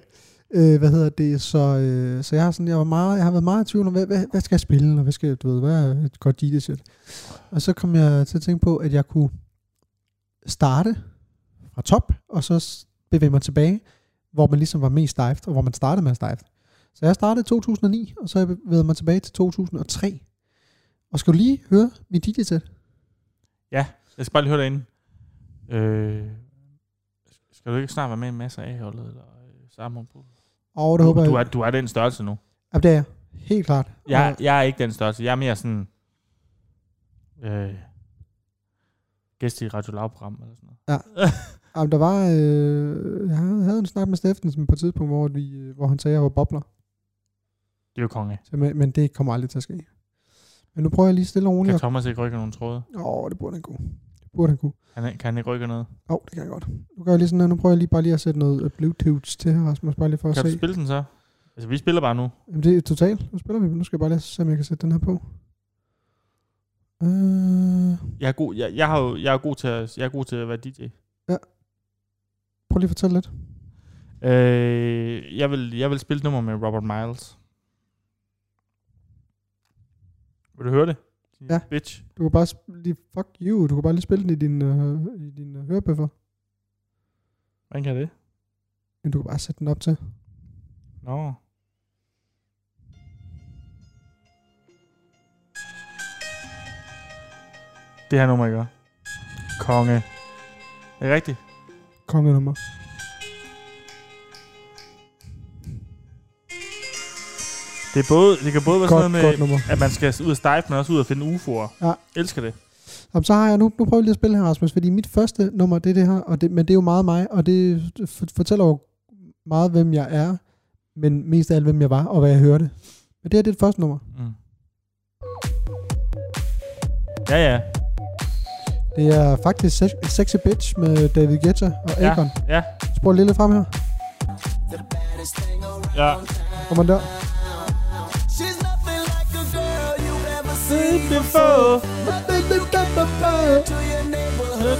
Speaker 1: penge.
Speaker 2: Øh, hvad hedder det, så, øh, så jeg har sådan, jeg var meget, jeg har været meget i tvivl om, hvad, hvad, hvad skal jeg spille, og hvad skal, jeg- du ved, hvad er et godt DJ set. Og så kom jeg til at tænke på, at jeg kunne starte fra top, og så s- bevæge mig tilbage, hvor man ligesom var mest stejft, og hvor man startede med at stejft. Så jeg startede i 2009, og så har jeg bevæget mig tilbage til 2003. Og skal du lige høre min DJ set?
Speaker 1: Jeg skal bare lige høre dig inden. Øh, skal du ikke snart være med i en masse A-holdet? Eller øh, sammen på?
Speaker 2: Og det
Speaker 1: Du,
Speaker 2: håber
Speaker 1: du, er,
Speaker 2: jeg.
Speaker 1: du er den størrelse nu.
Speaker 2: Ja, det er jeg. Helt klart.
Speaker 1: Jeg, jeg er ikke den størrelse. Jeg er mere sådan... Øh, gæst i et Radio Lav-program eller sådan noget.
Speaker 2: Jamen, der var... Øh, jeg havde havde en snak med Steffensen på et tidspunkt, hvor, vi, øh, hvor han sagde, at jeg var bobler.
Speaker 1: Det er jo konge.
Speaker 2: Så, men, men det kommer aldrig til at ske. Men nu prøver jeg lige stille og roligt.
Speaker 1: Kan
Speaker 2: at-
Speaker 1: Thomas ikke rykke nogen tråde?
Speaker 2: Åh, oh, det burde han kunne. Det burde han kunne.
Speaker 1: Kan han, kan han ikke rykke noget?
Speaker 2: Åh, oh, det kan jeg godt. Nu gør jeg lige sådan her. Nu prøver jeg lige bare lige at sætte noget øh, Bluetooth til her, Rasmus. Bare lige for at
Speaker 1: Kan du
Speaker 2: se.
Speaker 1: spille den så? Altså, vi spiller bare nu.
Speaker 2: Jamen, det er totalt. Nu spiller vi. dem. Nu skal jeg bare lige se, om jeg kan sætte den her på. Øh,
Speaker 1: Jeg er god, jeg, jeg har jo, jeg er god, til, at, jeg er god til at være DJ.
Speaker 2: prøv lige at fortælle lidt.
Speaker 1: Øh, jeg, vil, jeg vil spille et nummer med Robert Miles. Vil du høre det?
Speaker 2: Ja.
Speaker 1: Bitch.
Speaker 2: Du kan bare sp- lige... Fuck you. Du kan bare lige spille den i din, øh, i din øh, hørebøffer.
Speaker 1: Hvordan kan det?
Speaker 2: Men du kan bare sætte den op til.
Speaker 1: Nå. Det her nummer, jeg gør. Konge. Er det rigtigt?
Speaker 2: Kongenummer.
Speaker 1: Det, er både, det kan både være
Speaker 2: Godt,
Speaker 1: sådan noget
Speaker 2: godt
Speaker 1: med,
Speaker 2: nummer.
Speaker 1: at man skal ud og stejfe, men også ud og finde UFO'er.
Speaker 2: Ja.
Speaker 1: Elsker det.
Speaker 2: Jamen, så har jeg nu, nu prøver jeg lige at spille her, Rasmus, fordi mit første nummer, det er det her, og det, men det er jo meget mig, og det f- fortæller jo meget, hvem jeg er, men mest af alt, hvem jeg var, og hvad jeg hørte. Men det her, det er det første nummer.
Speaker 1: Mm. Ja, ja.
Speaker 2: Det er faktisk Se- Sexy Bitch med David Guetta og
Speaker 1: Ja.
Speaker 2: Akon.
Speaker 1: Ja,
Speaker 2: Spor lidt lidt frem her.
Speaker 1: ja.
Speaker 2: Kommer den der.
Speaker 3: She's nothing like a girl you've ever
Speaker 1: Seen
Speaker 3: seen
Speaker 1: before.
Speaker 3: to your neighborhood.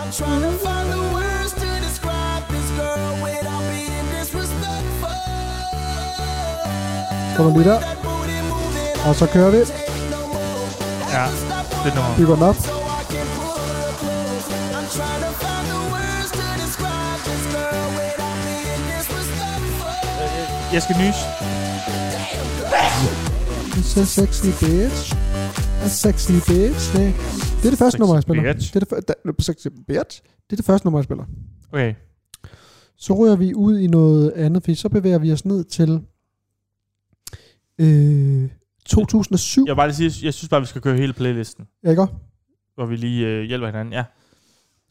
Speaker 3: I'm trying to find the words to describe this girl without being disrespectful.
Speaker 2: Kommer lige der.
Speaker 3: That booty moving,
Speaker 1: Oh.
Speaker 2: Og så kører vi.
Speaker 3: take no more.
Speaker 1: Ja, det nummer.
Speaker 2: Bygger den op.
Speaker 3: So I can pull her close. I'm trying to find the words to describe this girl without being disrespectful.
Speaker 1: Jeg skal nys.
Speaker 2: It's a sexy bitch. A sexy bitch. Det, det er det første
Speaker 1: Sexy
Speaker 2: nummer, jeg spiller.
Speaker 1: bitch.
Speaker 2: Det er det, fir- da- sexy bitch. Det er det første nummer, jeg spiller.
Speaker 1: Okay.
Speaker 2: Så rører vi ud i noget andet, fordi så bevæger vi os ned til øh, 2007.
Speaker 1: Jeg vil bare lige sige, jeg synes bare, vi skal køre hele playlisten.
Speaker 2: Ja, ikke? også?
Speaker 1: Du hvor vi lige øh, hjælper hinanden. Ja.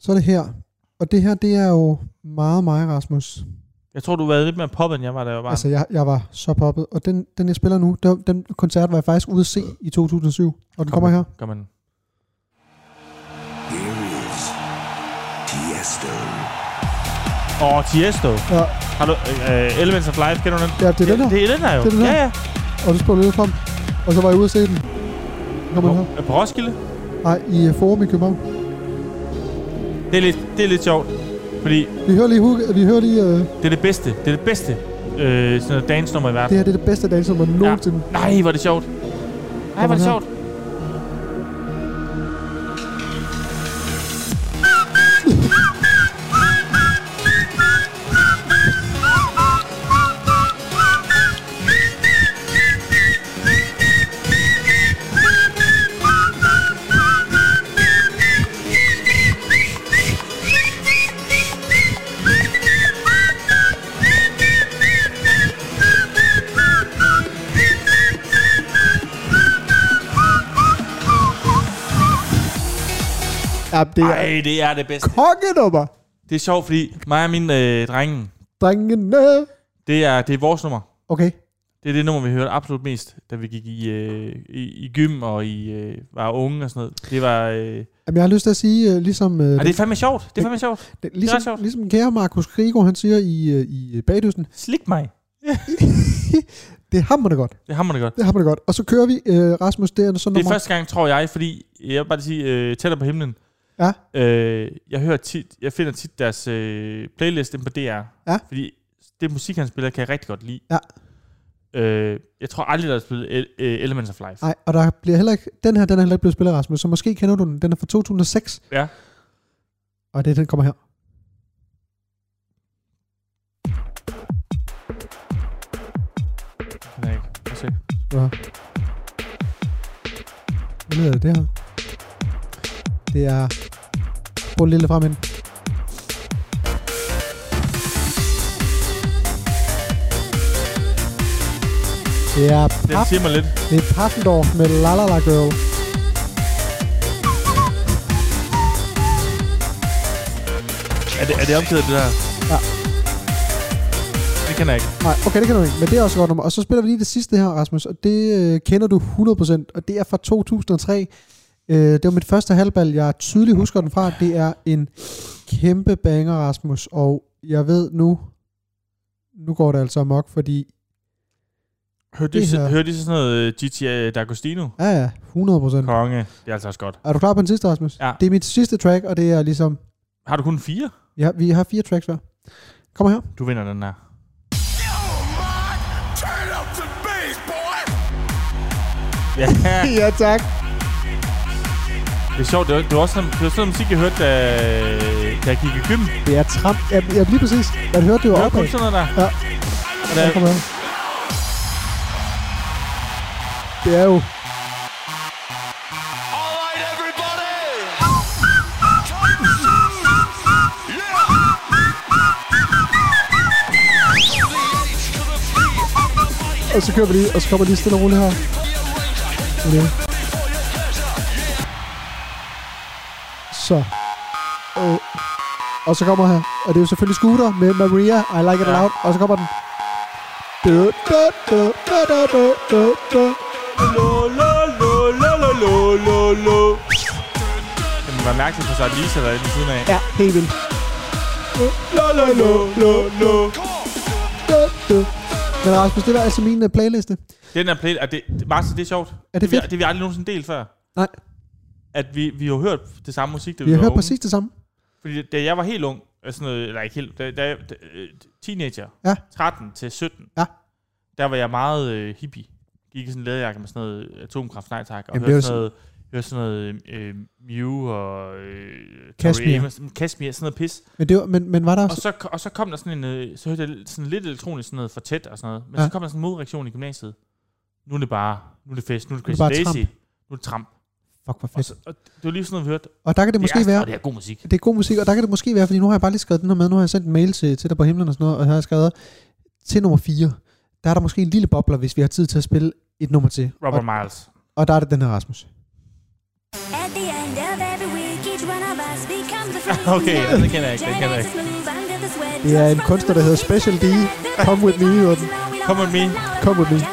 Speaker 2: Så er det her. Og det her, det er jo meget mig, Rasmus.
Speaker 1: Jeg tror, du var lidt mere poppet, end jeg var, da jeg var barn.
Speaker 2: Altså, jeg, jeg var så poppet. Og den, den jeg spiller nu, den, den koncert var jeg faktisk ude at se i 2007. Og den kommer her.
Speaker 1: Kom man.
Speaker 3: Here is Tiesto.
Speaker 1: Åh, Tiesto.
Speaker 2: Ja,
Speaker 1: Har du, øh, Elements of Life, kender du den?
Speaker 2: ja det er den her.
Speaker 1: Det er den her jo.
Speaker 2: Det er den her.
Speaker 1: Ja, ja.
Speaker 2: Og du spiller lidt frem. Og så var jeg ude at se den. Kommer den her.
Speaker 1: På, på Roskilde.
Speaker 2: Nej, i øh, Forum i København.
Speaker 1: Det er, lidt, det er lidt sjovt, fordi
Speaker 2: Vi hører lige, hook- vi hører lige øh,
Speaker 1: det er det bedste. Det er det bedste øh, sådan noget dance-nummer i
Speaker 2: det
Speaker 1: verden.
Speaker 2: her det er det bedste danser, man nogensinde...
Speaker 1: Nej, hvor er det sjovt. Nej, hvor er det
Speaker 2: her.
Speaker 1: sjovt.
Speaker 2: Ja, det er
Speaker 1: Nej, det er det bedste.
Speaker 2: kongenummer.
Speaker 1: Det er sjovt, fordi mig og mine øh, drenge,
Speaker 2: Drengene.
Speaker 1: det er, det er vores nummer.
Speaker 2: Okay.
Speaker 1: Det er det nummer, vi hørte absolut mest, da vi gik i, øh, i, i gym og i, øh, var unge og sådan noget. Det var... Øh,
Speaker 2: Jamen, jeg har lyst til at sige, øh, ligesom, øh,
Speaker 1: ej, det er fandme sjovt. Det er fandme sjovt.
Speaker 2: det,
Speaker 1: det er
Speaker 2: ligesom,
Speaker 1: ret sjovt.
Speaker 2: ligesom kære Markus Krigo, han siger i, øh, i øh, Bagdysten,
Speaker 1: Slik mig.
Speaker 2: det er hammerende godt.
Speaker 1: Det hammer det godt.
Speaker 2: Det er hammerende godt. Og så kører vi, øh, Rasmus, det er så
Speaker 1: Det er
Speaker 2: nummer...
Speaker 1: første gang, tror jeg, fordi jeg vil bare lige sige, øh, tættere på himlen.
Speaker 2: Ja.
Speaker 1: Øh, jeg hører tit, jeg finder tit deres øh, playlist inde på DR.
Speaker 2: Ja.
Speaker 1: Fordi det musik, han spiller, kan jeg rigtig godt lide.
Speaker 2: Ja.
Speaker 1: Øh, jeg tror aldrig, der er spillet El- øh, Elements of Life.
Speaker 2: Nej, og der bliver heller ikke, den her, den er heller ikke blevet spillet, Rasmus, så måske kender du den. Den er fra 2006.
Speaker 1: Ja.
Speaker 2: Og det er den, der kommer her.
Speaker 1: Nej, ikke. Prøv at se.
Speaker 2: Ja. Hvad lyder det, det her? Det er... Prøv lidt lidt frem ind. Det er
Speaker 1: Den
Speaker 2: pap,
Speaker 1: siger mig lidt.
Speaker 2: det er Paffendorf med La La La Girl.
Speaker 1: Er det, er det omkædet, det der?
Speaker 2: Ja.
Speaker 1: Det kan jeg ikke.
Speaker 2: Nej, okay, det kan du ikke, men det er også et godt nummer. Og så spiller vi lige det sidste her, Rasmus, og det øh, kender du 100%, og det er fra 2003. Øh, det var mit første halvbal, jeg tydeligt husker den fra. Det er en kæmpe banger, Rasmus, og jeg ved nu, nu går det altså amok, fordi,
Speaker 1: Hørte de,
Speaker 2: Det
Speaker 1: så,
Speaker 2: her.
Speaker 1: hørte de så sådan noget øh, GTA D'Agostino?
Speaker 2: ja ja, 100%.
Speaker 1: Konge. Det er altså også godt.
Speaker 2: Er du klar på den sidste, Rasmus?
Speaker 1: Ja.
Speaker 2: Det er mit sidste track, og det er ligesom,
Speaker 1: Har du kun fire?
Speaker 2: ja, vi har fire tracks hver. Kom her.
Speaker 1: Du vinder den her.
Speaker 3: Turn up the bass, boy.
Speaker 1: Ja,
Speaker 2: Ja, tak.
Speaker 1: det er sjovt. Det var, det var også sådan, det var sådan musik, jeg hørte, da, da jeg gik i gym.
Speaker 2: Det er tramp. Ja, ja lige præcis. Jeg hørte det
Speaker 1: Det
Speaker 2: jo
Speaker 1: var
Speaker 2: opad.
Speaker 1: kun sådan noget der.
Speaker 2: Ja.
Speaker 1: Og da,
Speaker 2: Ja, kom her. Det er jo
Speaker 3: All right, everybody.
Speaker 2: Og så kører vi lige, og så kommer lige stille og roligt her. Ja. Så. Øh. Og så kommer her, og det er jo selvfølgelig Scooter med Maria, I Like It
Speaker 1: Ja.
Speaker 2: ja. Loud, og så kommer den. Du, du, du, du, du, du, du, du.
Speaker 1: Lo, lo, lo, lo, lo, lo, lo, lo. Det må være mærkeligt for Sarah Lisa, der er ved siden af.
Speaker 2: Ja, helt vildt.
Speaker 1: Lo, lo, lo, lo, lo.
Speaker 2: Du, du. Men Rasmus, det var altså min uh, playliste.
Speaker 1: Den her play, er det, det- Martin, det er sjovt.
Speaker 2: Er det
Speaker 1: Det, vi,
Speaker 2: fedt?
Speaker 1: det vi aldrig nogensinde delt før.
Speaker 2: Nej,
Speaker 1: At vi, vi har hørt det samme musik, da vi,
Speaker 2: vi har
Speaker 1: var
Speaker 2: hørt
Speaker 1: unge.
Speaker 2: præcis det samme.
Speaker 1: Fordi da jeg var helt ung, altså sådan noget, eller ikke helt, da, da, da øh, teenager,
Speaker 2: Ja.
Speaker 1: 13 til 17,
Speaker 2: Ja.
Speaker 1: der var jeg meget øh, hippie. Gik i sådan en læderjakke med sådan noget atomkraft, nej tak, og
Speaker 2: Jamen, det er
Speaker 1: hørte
Speaker 2: jo
Speaker 1: sådan noget, hørte sådan noget øh, Mew og øh,
Speaker 2: Kashmir.
Speaker 1: Kashmir, sådan noget pis.
Speaker 2: Men, det var, men, men var der
Speaker 1: Og
Speaker 2: også...
Speaker 1: så, og så kom der sådan en, øh, så hørte jeg sådan lidt elektronisk sådan noget for tæt og sådan noget, men
Speaker 2: Ja.
Speaker 1: så kom der sådan en modreaktion i gymnasiet. Nu er det bare, nu er det fest, nu er det
Speaker 2: Nu er det
Speaker 1: Crazy
Speaker 2: bare
Speaker 1: Daisy,
Speaker 2: tramp.
Speaker 1: nu er det tramp.
Speaker 2: Fuck, hvor
Speaker 1: Og,
Speaker 2: fedt.
Speaker 1: så, og det var lige sådan noget, vi hørte. Det,
Speaker 2: Og der kan det måske
Speaker 1: er,
Speaker 2: være...
Speaker 1: Og det er god musik.
Speaker 2: det er god musik, og der kan det måske være, fordi nu har jeg bare lige skrevet den her med, nu har jeg sendt en mail til, til dig på himlen og sådan noget, og her har jeg skrevet til nummer 4. Der er der måske en lille bobler, hvis vi har tid til at spille et nummer til.
Speaker 1: Robert
Speaker 2: og,
Speaker 1: Miles.
Speaker 2: og der er det den her Rasmus.
Speaker 4: At the end of every
Speaker 1: Okay, ja, det kender jeg ikke, det kender jeg ikke.
Speaker 4: Det er en kunstner, der hedder Special D. Come with me, hedder den.
Speaker 1: Come with me.
Speaker 4: Come with me. Lad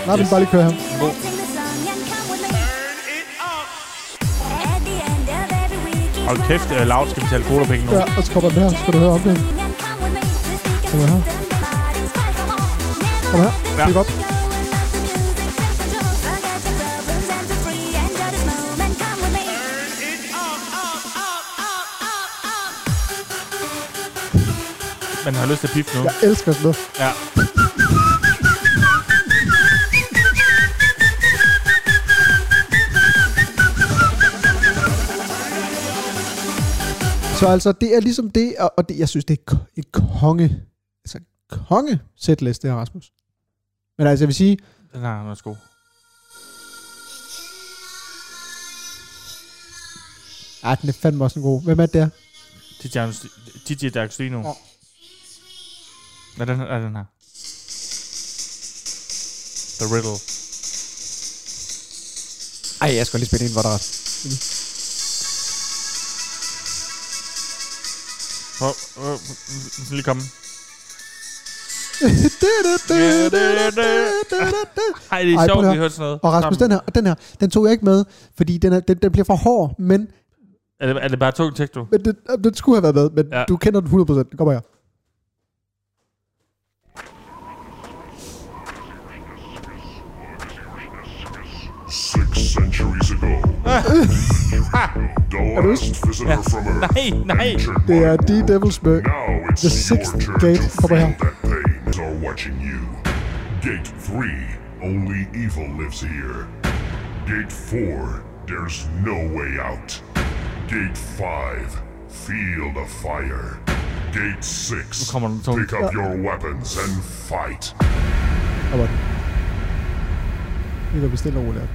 Speaker 4: yes.
Speaker 2: Yes.
Speaker 4: dem bare lige køre ham.
Speaker 1: God. Hold kæft, uh, Loud skal betale kodapenge nu.
Speaker 2: Ja, og så kommer den her. Så skal du høre om det.
Speaker 4: Kom her.
Speaker 2: Kom her.
Speaker 1: Ja.
Speaker 2: Klik op.
Speaker 1: Man har lyst til at pipe nu.
Speaker 2: Jeg elsker sådan noget.
Speaker 1: Ja.
Speaker 2: Så altså, det er ligesom det, og, og det, jeg synes, det er ko- et konge, altså konge setlist, det her Rasmus. Men altså, jeg vil sige,
Speaker 1: Den har han også god.
Speaker 2: ah, den er fandme også en god. Hvem er det der?
Speaker 1: DJ, Anus- DJ D'Agostino.
Speaker 2: Ja.
Speaker 1: Ja, den, er den her. The Riddle.
Speaker 2: Ej, jeg skal lige spille en, hvor der er.
Speaker 1: Prøv, øh, øh, lige komme. Ej, det er
Speaker 2: Ej, prøv
Speaker 1: sjovt,
Speaker 2: at
Speaker 1: vi har
Speaker 2: høre.
Speaker 1: hørt sådan noget.
Speaker 2: Og Rasmus, den her, og den her, den tog jeg ikke med, fordi den, er, den, den bliver for hård, men,
Speaker 1: Er det, er det bare tung tekst, du?
Speaker 2: men den, øh, den skulle have været med, men
Speaker 1: Ja.
Speaker 2: ja. du kender den 100%. Den kommer her.
Speaker 5: Six centuries ago, the last visitor from Earth
Speaker 1: Nej, nej.
Speaker 5: entered
Speaker 2: Det
Speaker 5: my
Speaker 2: er
Speaker 5: world.
Speaker 2: The Devil's Bird.
Speaker 5: Now it's
Speaker 2: The
Speaker 5: your
Speaker 2: sixth
Speaker 5: turn
Speaker 2: gate.
Speaker 5: to
Speaker 2: Kom
Speaker 5: feel
Speaker 2: her.
Speaker 5: that pain is all watching you. Gate 3, only evil lives here. Gate 4, there's no way out. Gate 5, feel the fire. Gate 6,
Speaker 1: kommer den tungt.
Speaker 5: pick up your weapons and fight.
Speaker 2: Der var den. Vi går bestille og roligt. op.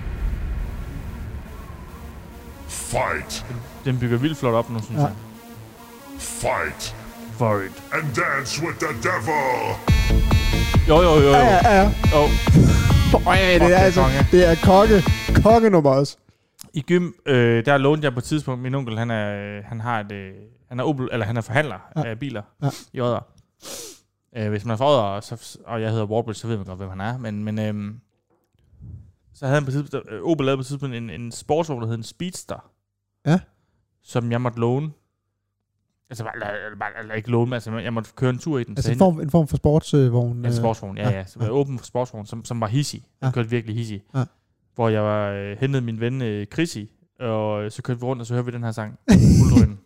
Speaker 5: Fight,
Speaker 1: Den bygger vildt flot op nu, synes
Speaker 2: Ja.
Speaker 1: jeg.
Speaker 5: fight,
Speaker 1: Worried.
Speaker 5: and dance with the devil!
Speaker 1: Jo, jo, jo, jo.
Speaker 2: Ja, ja, ja.
Speaker 1: jo.
Speaker 2: Øj, det
Speaker 1: det er
Speaker 2: er altså,
Speaker 1: konge.
Speaker 2: det er konge, kongenummer også.
Speaker 1: I gym, øh, der lånte jeg på et tidspunkt, min onkel, han er, øh, han har et, øh, han er, Opel, eller han er forhandler
Speaker 2: Ja.
Speaker 1: ja. af biler
Speaker 2: Ja.
Speaker 1: ja. i Odder. Øh, hvis man er fra Odder, og, så, og jeg hedder Warbridge, så ved man godt, hvem han er. Men, men øh, så havde han på et tidspunkt, øh, Opel lavede på et tidspunkt en, en sportsvogn, der hed en Speedster.
Speaker 2: Ja.
Speaker 1: Som jeg måtte låne. Altså, bare, eller, bare, eller ikke låne, men altså, jeg måtte køre en tur i den.
Speaker 2: Altså
Speaker 1: så
Speaker 2: en form, en form for sportsvogn. øh.
Speaker 1: Ja, en sportsvogn, ja,
Speaker 2: Ja,
Speaker 1: ja. Som var åben for sportsvogn, som, som var hissig. Den
Speaker 2: Ja.
Speaker 1: kørte virkelig hissig.
Speaker 2: Ja.
Speaker 1: Hvor jeg var, øh, hentede min ven øh, Chrissy, og øh, så kørte vi rundt, og så hørte vi den her sang. Guldrøden.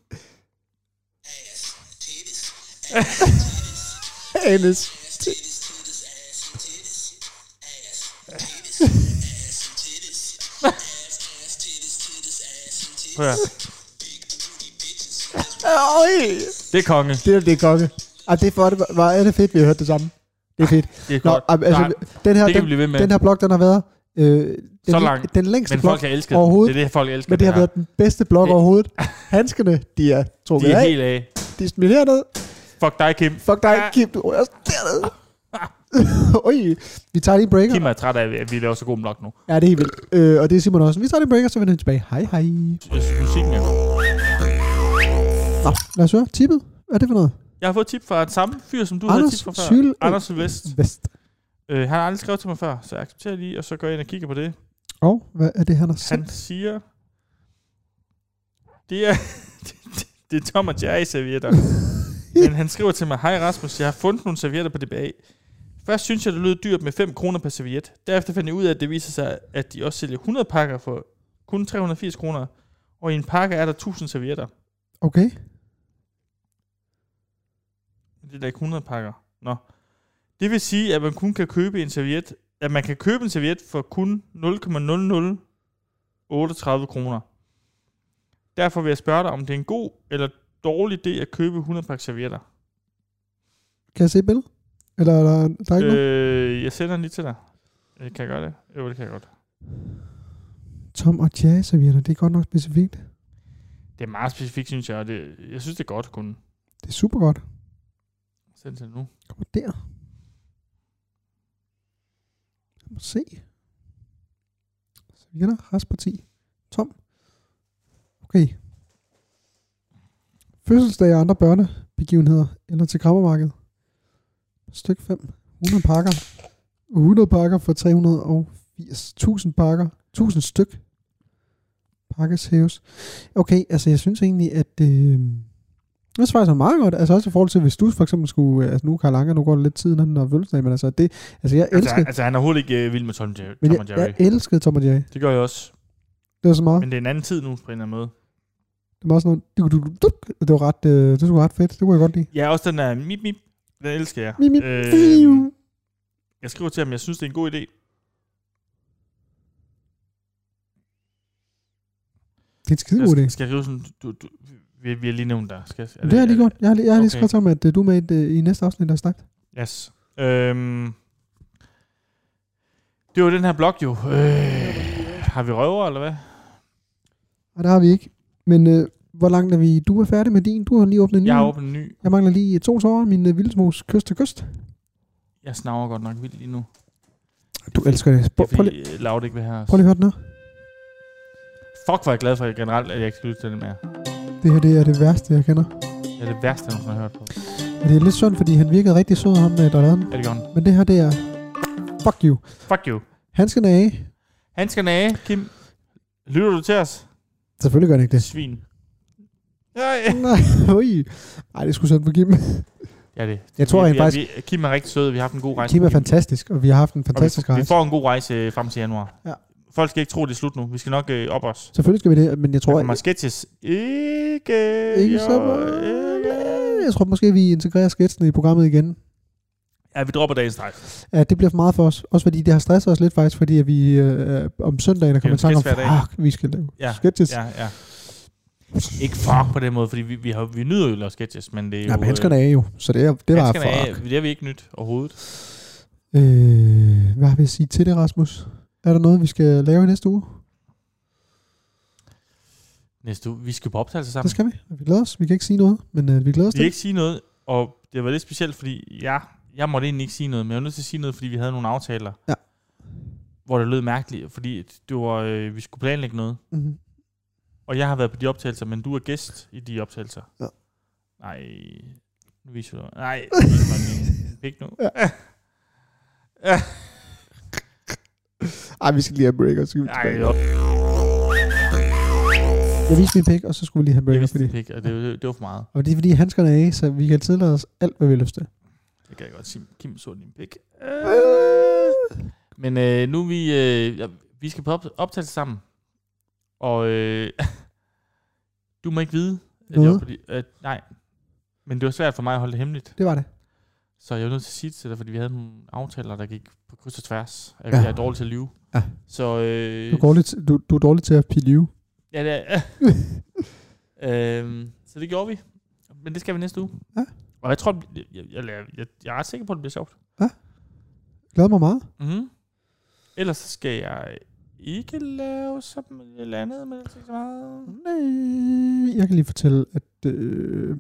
Speaker 2: Anus.
Speaker 1: Prøv at høre.
Speaker 2: Øj.
Speaker 1: Det er konge.
Speaker 2: Det er det er konge. Ej, det er, for, det, hvor er det fedt, vi har hørt det samme. Det er fedt.
Speaker 1: Det er
Speaker 2: Nå,
Speaker 1: godt.
Speaker 2: ej, altså,
Speaker 1: Nej,
Speaker 2: den her,
Speaker 1: det kan vi
Speaker 2: den,
Speaker 1: blive ved med.
Speaker 2: den her blog, den har været øh, den,
Speaker 1: Så
Speaker 2: læ-
Speaker 1: lang.
Speaker 2: den længste
Speaker 1: men
Speaker 2: blog,
Speaker 1: folk har elsket den.
Speaker 2: overhovedet.
Speaker 1: Det er det, folk elsker.
Speaker 2: men det har
Speaker 1: her.
Speaker 2: været den bedste blog
Speaker 1: Det-
Speaker 2: overhovedet. Handskerne, de er trukket
Speaker 1: De er
Speaker 2: af.
Speaker 1: helt af.
Speaker 2: De er smidt herned.
Speaker 1: Fuck dig, Kim.
Speaker 2: Fuck dig,
Speaker 1: Ja.
Speaker 2: Kim. Du er også dernede. Oj, vi tager lige en breaker.
Speaker 1: Kim er træt af, at vi laver så god en blog nu.
Speaker 2: Ja, det er helt vildt. Øh, og det er Simon også. Vi tager lige en breaker, så vender vi tilbage. Hej, hej.
Speaker 1: Jeg synes, musikken er god.
Speaker 2: Nå, lad os høre. Tippet. Hvad er det for noget?
Speaker 1: Jeg har fået et tip fra den samme fyr, som du havde
Speaker 2: Anders
Speaker 1: tip fra før.
Speaker 2: Syl-
Speaker 1: Anders Sylvest.
Speaker 2: Vest.
Speaker 1: Øh, han har aldrig skrevet til mig før, så jeg accepterer lige, og så går jeg ind og kigger på det.
Speaker 2: Og hvad er det, han har
Speaker 1: Han
Speaker 2: sendt?
Speaker 1: siger, det er, det er Tom og Jerry servietter. Men han skriver til mig, hej Rasmus, jeg har fundet nogle servietter på DBA. Først synes jeg, det lød dyrt med 5 kroner per serviet. Derefter fandt jeg ud af, at det viser sig, at de også sælger 100 pakker for kun 380 kroner. Og i en pakke er der 1000 servietter.
Speaker 2: Okay.
Speaker 1: Det er da ikke 100 pakker. Nå. Det vil sige, at man kun kan købe en serviet, at man kan købe en serviet for kun 0,0038 kroner. Derfor vil jeg spørge dig, om det er en god eller dårlig idé at købe 100 pakker servietter.
Speaker 2: Kan jeg se billedet? Eller er der, der er ikke noget?
Speaker 1: Øh, jeg sender den lige til dig. Øh, Kan jeg gøre det? Jo, det kan jeg godt.
Speaker 2: Tom og Jerry servietter, det er godt nok specifikt.
Speaker 1: Det er meget specifikt, synes jeg. Og det, jeg synes, det er godt at kunne
Speaker 2: Det er super godt.
Speaker 1: sende til nu.
Speaker 2: Kom der. Lad mig se. Servietter, restparti. Tom. Okay. Fødselsdage og andre børnebegivenheder, eller til krammermarkedet. Styk 5. 100 pakker. 100 pakker for 380. 1000 pakker. 1000 styk. Pakkes hæves. Okay, altså jeg synes egentlig, at... Øh, det svarer så meget godt. Altså også i forhold til, hvis du for eksempel skulle... øh, Altså nu, Karl Anker, nu går det lidt tid, inden han har fødselsdag, men altså det... Altså jeg
Speaker 1: Altså,
Speaker 2: elskede...
Speaker 1: han- altså, han er overhovedet ikke øh, vild med Tom, Jerry,
Speaker 2: men
Speaker 1: Tom
Speaker 2: jeg,
Speaker 1: og Jerry.
Speaker 2: jeg elskede Tom og Jerry.
Speaker 1: Det gør jeg også.
Speaker 2: Det var så meget.
Speaker 1: Men det er en anden tid nu, på en eller anden måde.
Speaker 2: Det var også noget... Du, du, du, du, det var ret, øh, det var ret fedt. Det kunne jeg godt lide.
Speaker 1: Ja, også den der mip, mip. Den elsker jeg.
Speaker 2: Mip, mip.
Speaker 1: Øh, jeg skriver til ham, jeg synes, det er en god idé.
Speaker 2: Det er en skide god idé.
Speaker 1: Jeg, skal jeg skrive sådan, du, du, vi, vi har lige nævnt dig. Skal, jeg- er
Speaker 2: Det, det har jeg lige
Speaker 1: er-
Speaker 2: gjort. Jeg har lige, jeg har lige
Speaker 1: Okay.
Speaker 2: skrevet om, at øh, du er med i, det- i næste afsnit af Snakt.
Speaker 1: Yes. Øhm, det var den her blog jo. Øh, har vi røver, eller hvad?
Speaker 2: Og der har vi ikke. Men øh, hvor langt er vi? Du er færdig med din. Du har lige åbnet en ny.
Speaker 1: Jeg har åbnet en ny.
Speaker 2: Jeg mangler lige to tårer. Min øh, vildsmos kyst til kyst.
Speaker 1: Jeg snaver godt nok vildt lige nu.
Speaker 2: Du elsker det.
Speaker 1: Det
Speaker 2: Prøv,
Speaker 1: er
Speaker 2: prøv, lige,
Speaker 1: fordi, øh, Laud ikke vil have os.
Speaker 2: prøv lige at høre den her.
Speaker 1: Fuck, hvor er jeg glad for at jeg generelt, at jeg ikke skal lytte til den mere.
Speaker 2: Det her det er det værste, jeg kender.
Speaker 1: Det er det værste, jeg nogensinde har hørt på.
Speaker 2: Men det er lidt synd, fordi han virkede rigtig sød, ham øh, der lavede den.
Speaker 1: Er det godt?
Speaker 2: Men det her, det er... Fuck you.
Speaker 1: Fuck you.
Speaker 2: Han skal af.
Speaker 1: Han skal nage, Kim. Lytter du til os?
Speaker 2: Selvfølgelig gør han ikke det.
Speaker 1: Svin. Nej.
Speaker 2: Nej, ui. Ej, det skulle sådan for Kim.
Speaker 1: Ja, det.
Speaker 2: Jeg tror
Speaker 1: vi,
Speaker 2: rent
Speaker 1: vi,
Speaker 2: faktisk-
Speaker 1: Vi, Kim er rigtig sød. Vi har haft en god rejse.
Speaker 2: Kim
Speaker 1: med
Speaker 2: er fantastisk, og vi har haft en
Speaker 1: Og
Speaker 2: fantastisk
Speaker 1: vi, vi
Speaker 2: rejse.
Speaker 1: får en god rejse øh, frem til januar.
Speaker 2: Ja.
Speaker 1: Folk skal ikke tro, det er slut nu. Vi skal nok øh, op os.
Speaker 2: Selvfølgelig skal vi det, men jeg
Speaker 1: Der
Speaker 2: tror...
Speaker 1: kommer sketches. Ikke,
Speaker 2: Ikke så
Speaker 1: jo,
Speaker 2: meget.
Speaker 1: ikke.
Speaker 2: Jeg tror måske, vi integrerer sketsene i programmet igen.
Speaker 1: Ja, vi dropper dagens drej.
Speaker 2: Ja, det bliver for meget for os. Også fordi det har stresset os lidt faktisk, fordi at vi øh, om søndagen er kommet i
Speaker 1: Det er
Speaker 2: tanke
Speaker 1: jo
Speaker 2: om,
Speaker 1: sketch hver dag.
Speaker 2: fuck, vi skal lave
Speaker 1: Ja,
Speaker 2: sketches. Ja,
Speaker 1: Ja, ja. Ikke fuck på den måde, fordi vi, vi, har, vi nyder jo at lave sketches, men det er jo... øh,
Speaker 2: ja men hanskerne er jo, så det, er, det var
Speaker 1: Hanskerne
Speaker 2: fuck.
Speaker 1: er, det har vi ikke nyt overhovedet.
Speaker 2: Øh, hvad vil jeg sige til det, Rasmus? Er der noget, vi skal lave i næste uge?
Speaker 1: Næste uge, vi skal på optagelse sammen.
Speaker 2: Det skal vi. Vi glæder os. Vi kan ikke sige noget, men øh, vi glæder os
Speaker 1: Vi kan
Speaker 2: til.
Speaker 1: ikke sige noget, og det var lidt specielt, fordi ja, jeg måtte egentlig ikke sige noget, men jeg var nødt til at sige noget, fordi vi havde nogle aftaler.
Speaker 2: Ja.
Speaker 1: Hvor det lød mærkeligt, fordi det var, øh, vi skulle planlægge noget.
Speaker 2: Mm-hmm.
Speaker 1: Og jeg har været på de optagelser, men du er gæst i de optagelser.
Speaker 2: Ja.
Speaker 1: Nej, nu viser du. Nej, det er ikke mig. Pik nu.
Speaker 2: Ej, vi skal lige have break, og så skal vi
Speaker 1: Nej,
Speaker 2: tilbage.
Speaker 1: jeg,
Speaker 2: Jeg viste min pik, og så skulle vi lige have en
Speaker 1: jeg
Speaker 2: break.
Speaker 1: vidste
Speaker 2: Fordi,
Speaker 1: det pik, og det, det, var for meget.
Speaker 2: og det er fordi, handskerne er af, så vi kan tillade os alt, hvad vi har lyst til.
Speaker 1: Det kan jeg godt sige. Kim så din pik. Øh. Men øh, nu er vi, øh, ja, vi skal på op- optagelse sammen. Og øh, du må ikke vide, at jeg
Speaker 2: Noget?
Speaker 1: var på de, øh, nej. Men det var svært for mig at holde det hemmeligt.
Speaker 2: Det var det.
Speaker 1: Så jeg var nødt til at sige det til dig, fordi vi havde nogle aftaler, der gik på kryds og tværs. Jeg,
Speaker 2: Ja.
Speaker 1: jeg er dårlig til at lyve.
Speaker 2: Ja.
Speaker 1: Så, øh,
Speaker 2: Du er dårlig, til- du, du er dårlig til at pille liv.
Speaker 1: Ja, det er. øhm, så det gjorde vi. Men det skal vi næste uge.
Speaker 2: Ja.
Speaker 1: Og jeg tror, det bliver- jeg, jeg, jeg, jeg, jeg er ret sikker på, at det bliver sjovt.
Speaker 2: Glæder mig meget.
Speaker 1: Mm-hmm. Ellers så skal jeg ikke lave sådan et eller andet, men det er ikke så meget.
Speaker 2: Nej, jeg kan lige fortælle, at øh,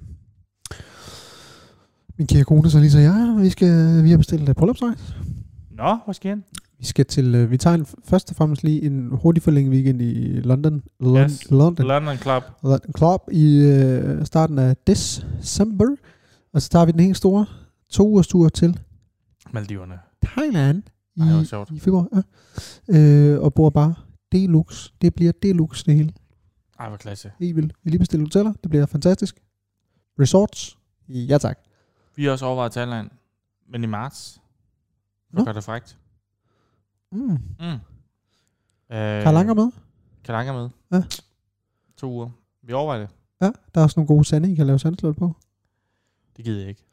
Speaker 2: min kære kone, så lige så jeg, vi, skal, vi har bestilt øh, bryllupsrejse.
Speaker 1: Nå, hvor skal han?
Speaker 2: Vi skal til, øh, vi tager en, først og fremmest lige en hurtig forlænget weekend i London. Lon-
Speaker 1: Yes.
Speaker 2: London.
Speaker 1: London Club.
Speaker 2: London Club i øh, starten af december. Og så tager vi den helt store to ugers tur til
Speaker 1: Maldiverne.
Speaker 2: Thailand i,
Speaker 1: Ej, hvor sjovt.
Speaker 2: i februar. Ja. Øh, og bor bare deluxe. Det bliver deluxe det hele.
Speaker 1: Ej, hvor klasse.
Speaker 2: I vil I lige bestille hoteller. Det bliver fantastisk. Resorts. Ja tak.
Speaker 1: Vi har også overvejet Thailand, men i marts.
Speaker 2: Nå.
Speaker 1: Hvor gør det frækt?
Speaker 2: Mm.
Speaker 1: Mm. Øh,
Speaker 2: Karl Anker med.
Speaker 1: Karl Anker med.
Speaker 2: Ja.
Speaker 1: To uger. Vi overvejer det.
Speaker 2: Ja, der er også nogle gode sande, I kan lave sandslot på.
Speaker 1: Det gider jeg ikke.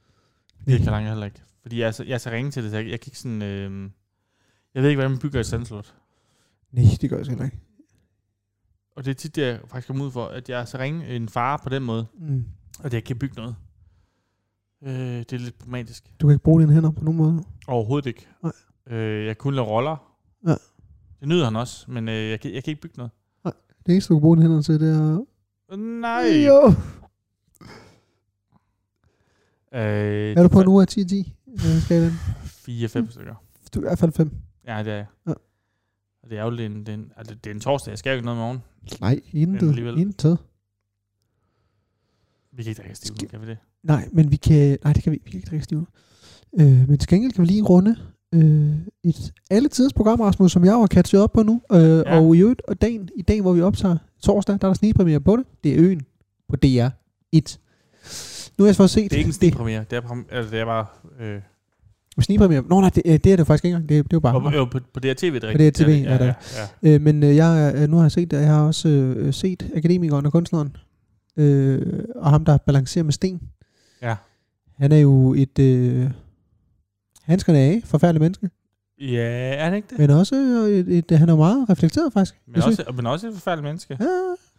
Speaker 1: Det gider Karl Anker heller ikke. Fordi jeg er så, jeg er så ringe til det, så jeg, jeg kan ikke sådan... Øh, jeg ved ikke, hvordan man bygger et sandslot.
Speaker 2: Nej, det gør jeg sgu heller ikke.
Speaker 1: Og det er tit, det jeg faktisk kommer ud for, at jeg er så ringe en far på den måde.
Speaker 2: Mm.
Speaker 1: Og det, jeg kan bygge noget. Øh, det er lidt problematisk.
Speaker 2: Du kan ikke bruge dine hænder på nogen måde.
Speaker 1: Overhovedet ikke.
Speaker 2: Nej.
Speaker 1: Øh, jeg kunne lave roller.
Speaker 2: Ja.
Speaker 1: Det nyder han også, men øh, jeg, kan, jeg kan ikke bygge noget.
Speaker 2: Det eneste, du kan bruge dine hænder til, det er...
Speaker 1: Nej.
Speaker 2: Jo.
Speaker 1: Øh,
Speaker 2: Er du på en uge af 10 10 øh, skalaen?
Speaker 1: 4-5 stykker.
Speaker 2: Du er i hvert fald 5.
Speaker 1: Ja, det er jeg.
Speaker 2: Mm. Ja.
Speaker 1: Og det er jo lidt en, det er en, altså, det er en torsdag. Jeg skal jo ikke noget i morgen.
Speaker 2: Nej, intet.
Speaker 1: alligevel.
Speaker 2: Intet.
Speaker 1: Vi kan ikke drikke stiv nu, kan vi det?
Speaker 2: Nej, men vi kan... Nej, det kan vi, ikke. vi kan ikke drikke stivner. Øh, men til gengæld kan vi lige runde øh, et alle tiders program, Rasmus, som jeg jo har catchet op på nu. Øh, ja. Og i øvrigt, og dagen, i dag, hvor vi optager torsdag, der er der snigpremiere på det. Det er øen på DR1. Nu har jeg så set...
Speaker 1: Det er ikke en snigpremiere. Det er, prom- altså, det er bare... Øh,
Speaker 2: Snigpremiere. Nå nej, det, øh, det er det faktisk ikke engang. Det, er- det er jo bare...
Speaker 1: og, jo, på, på DR TV, det er
Speaker 2: På
Speaker 1: rigtigt.
Speaker 2: DRTV,
Speaker 1: ja,
Speaker 2: er der.
Speaker 1: ja, ja.
Speaker 2: Øh, men øh, jeg, er- nu har jeg set, at jeg har også øh, set Akademikeren og Kunstneren, øh, og ham, der balancerer med sten.
Speaker 1: Ja.
Speaker 2: Han er jo et... Øh, handskerne af, forfærdelig menneske,
Speaker 1: Ja, er det ikke det?
Speaker 2: men også øh, et, et, han er jo meget reflekteret faktisk.
Speaker 1: Men
Speaker 2: Jeg synes,
Speaker 1: også, men også et forfærdeligt menneske.
Speaker 2: ja,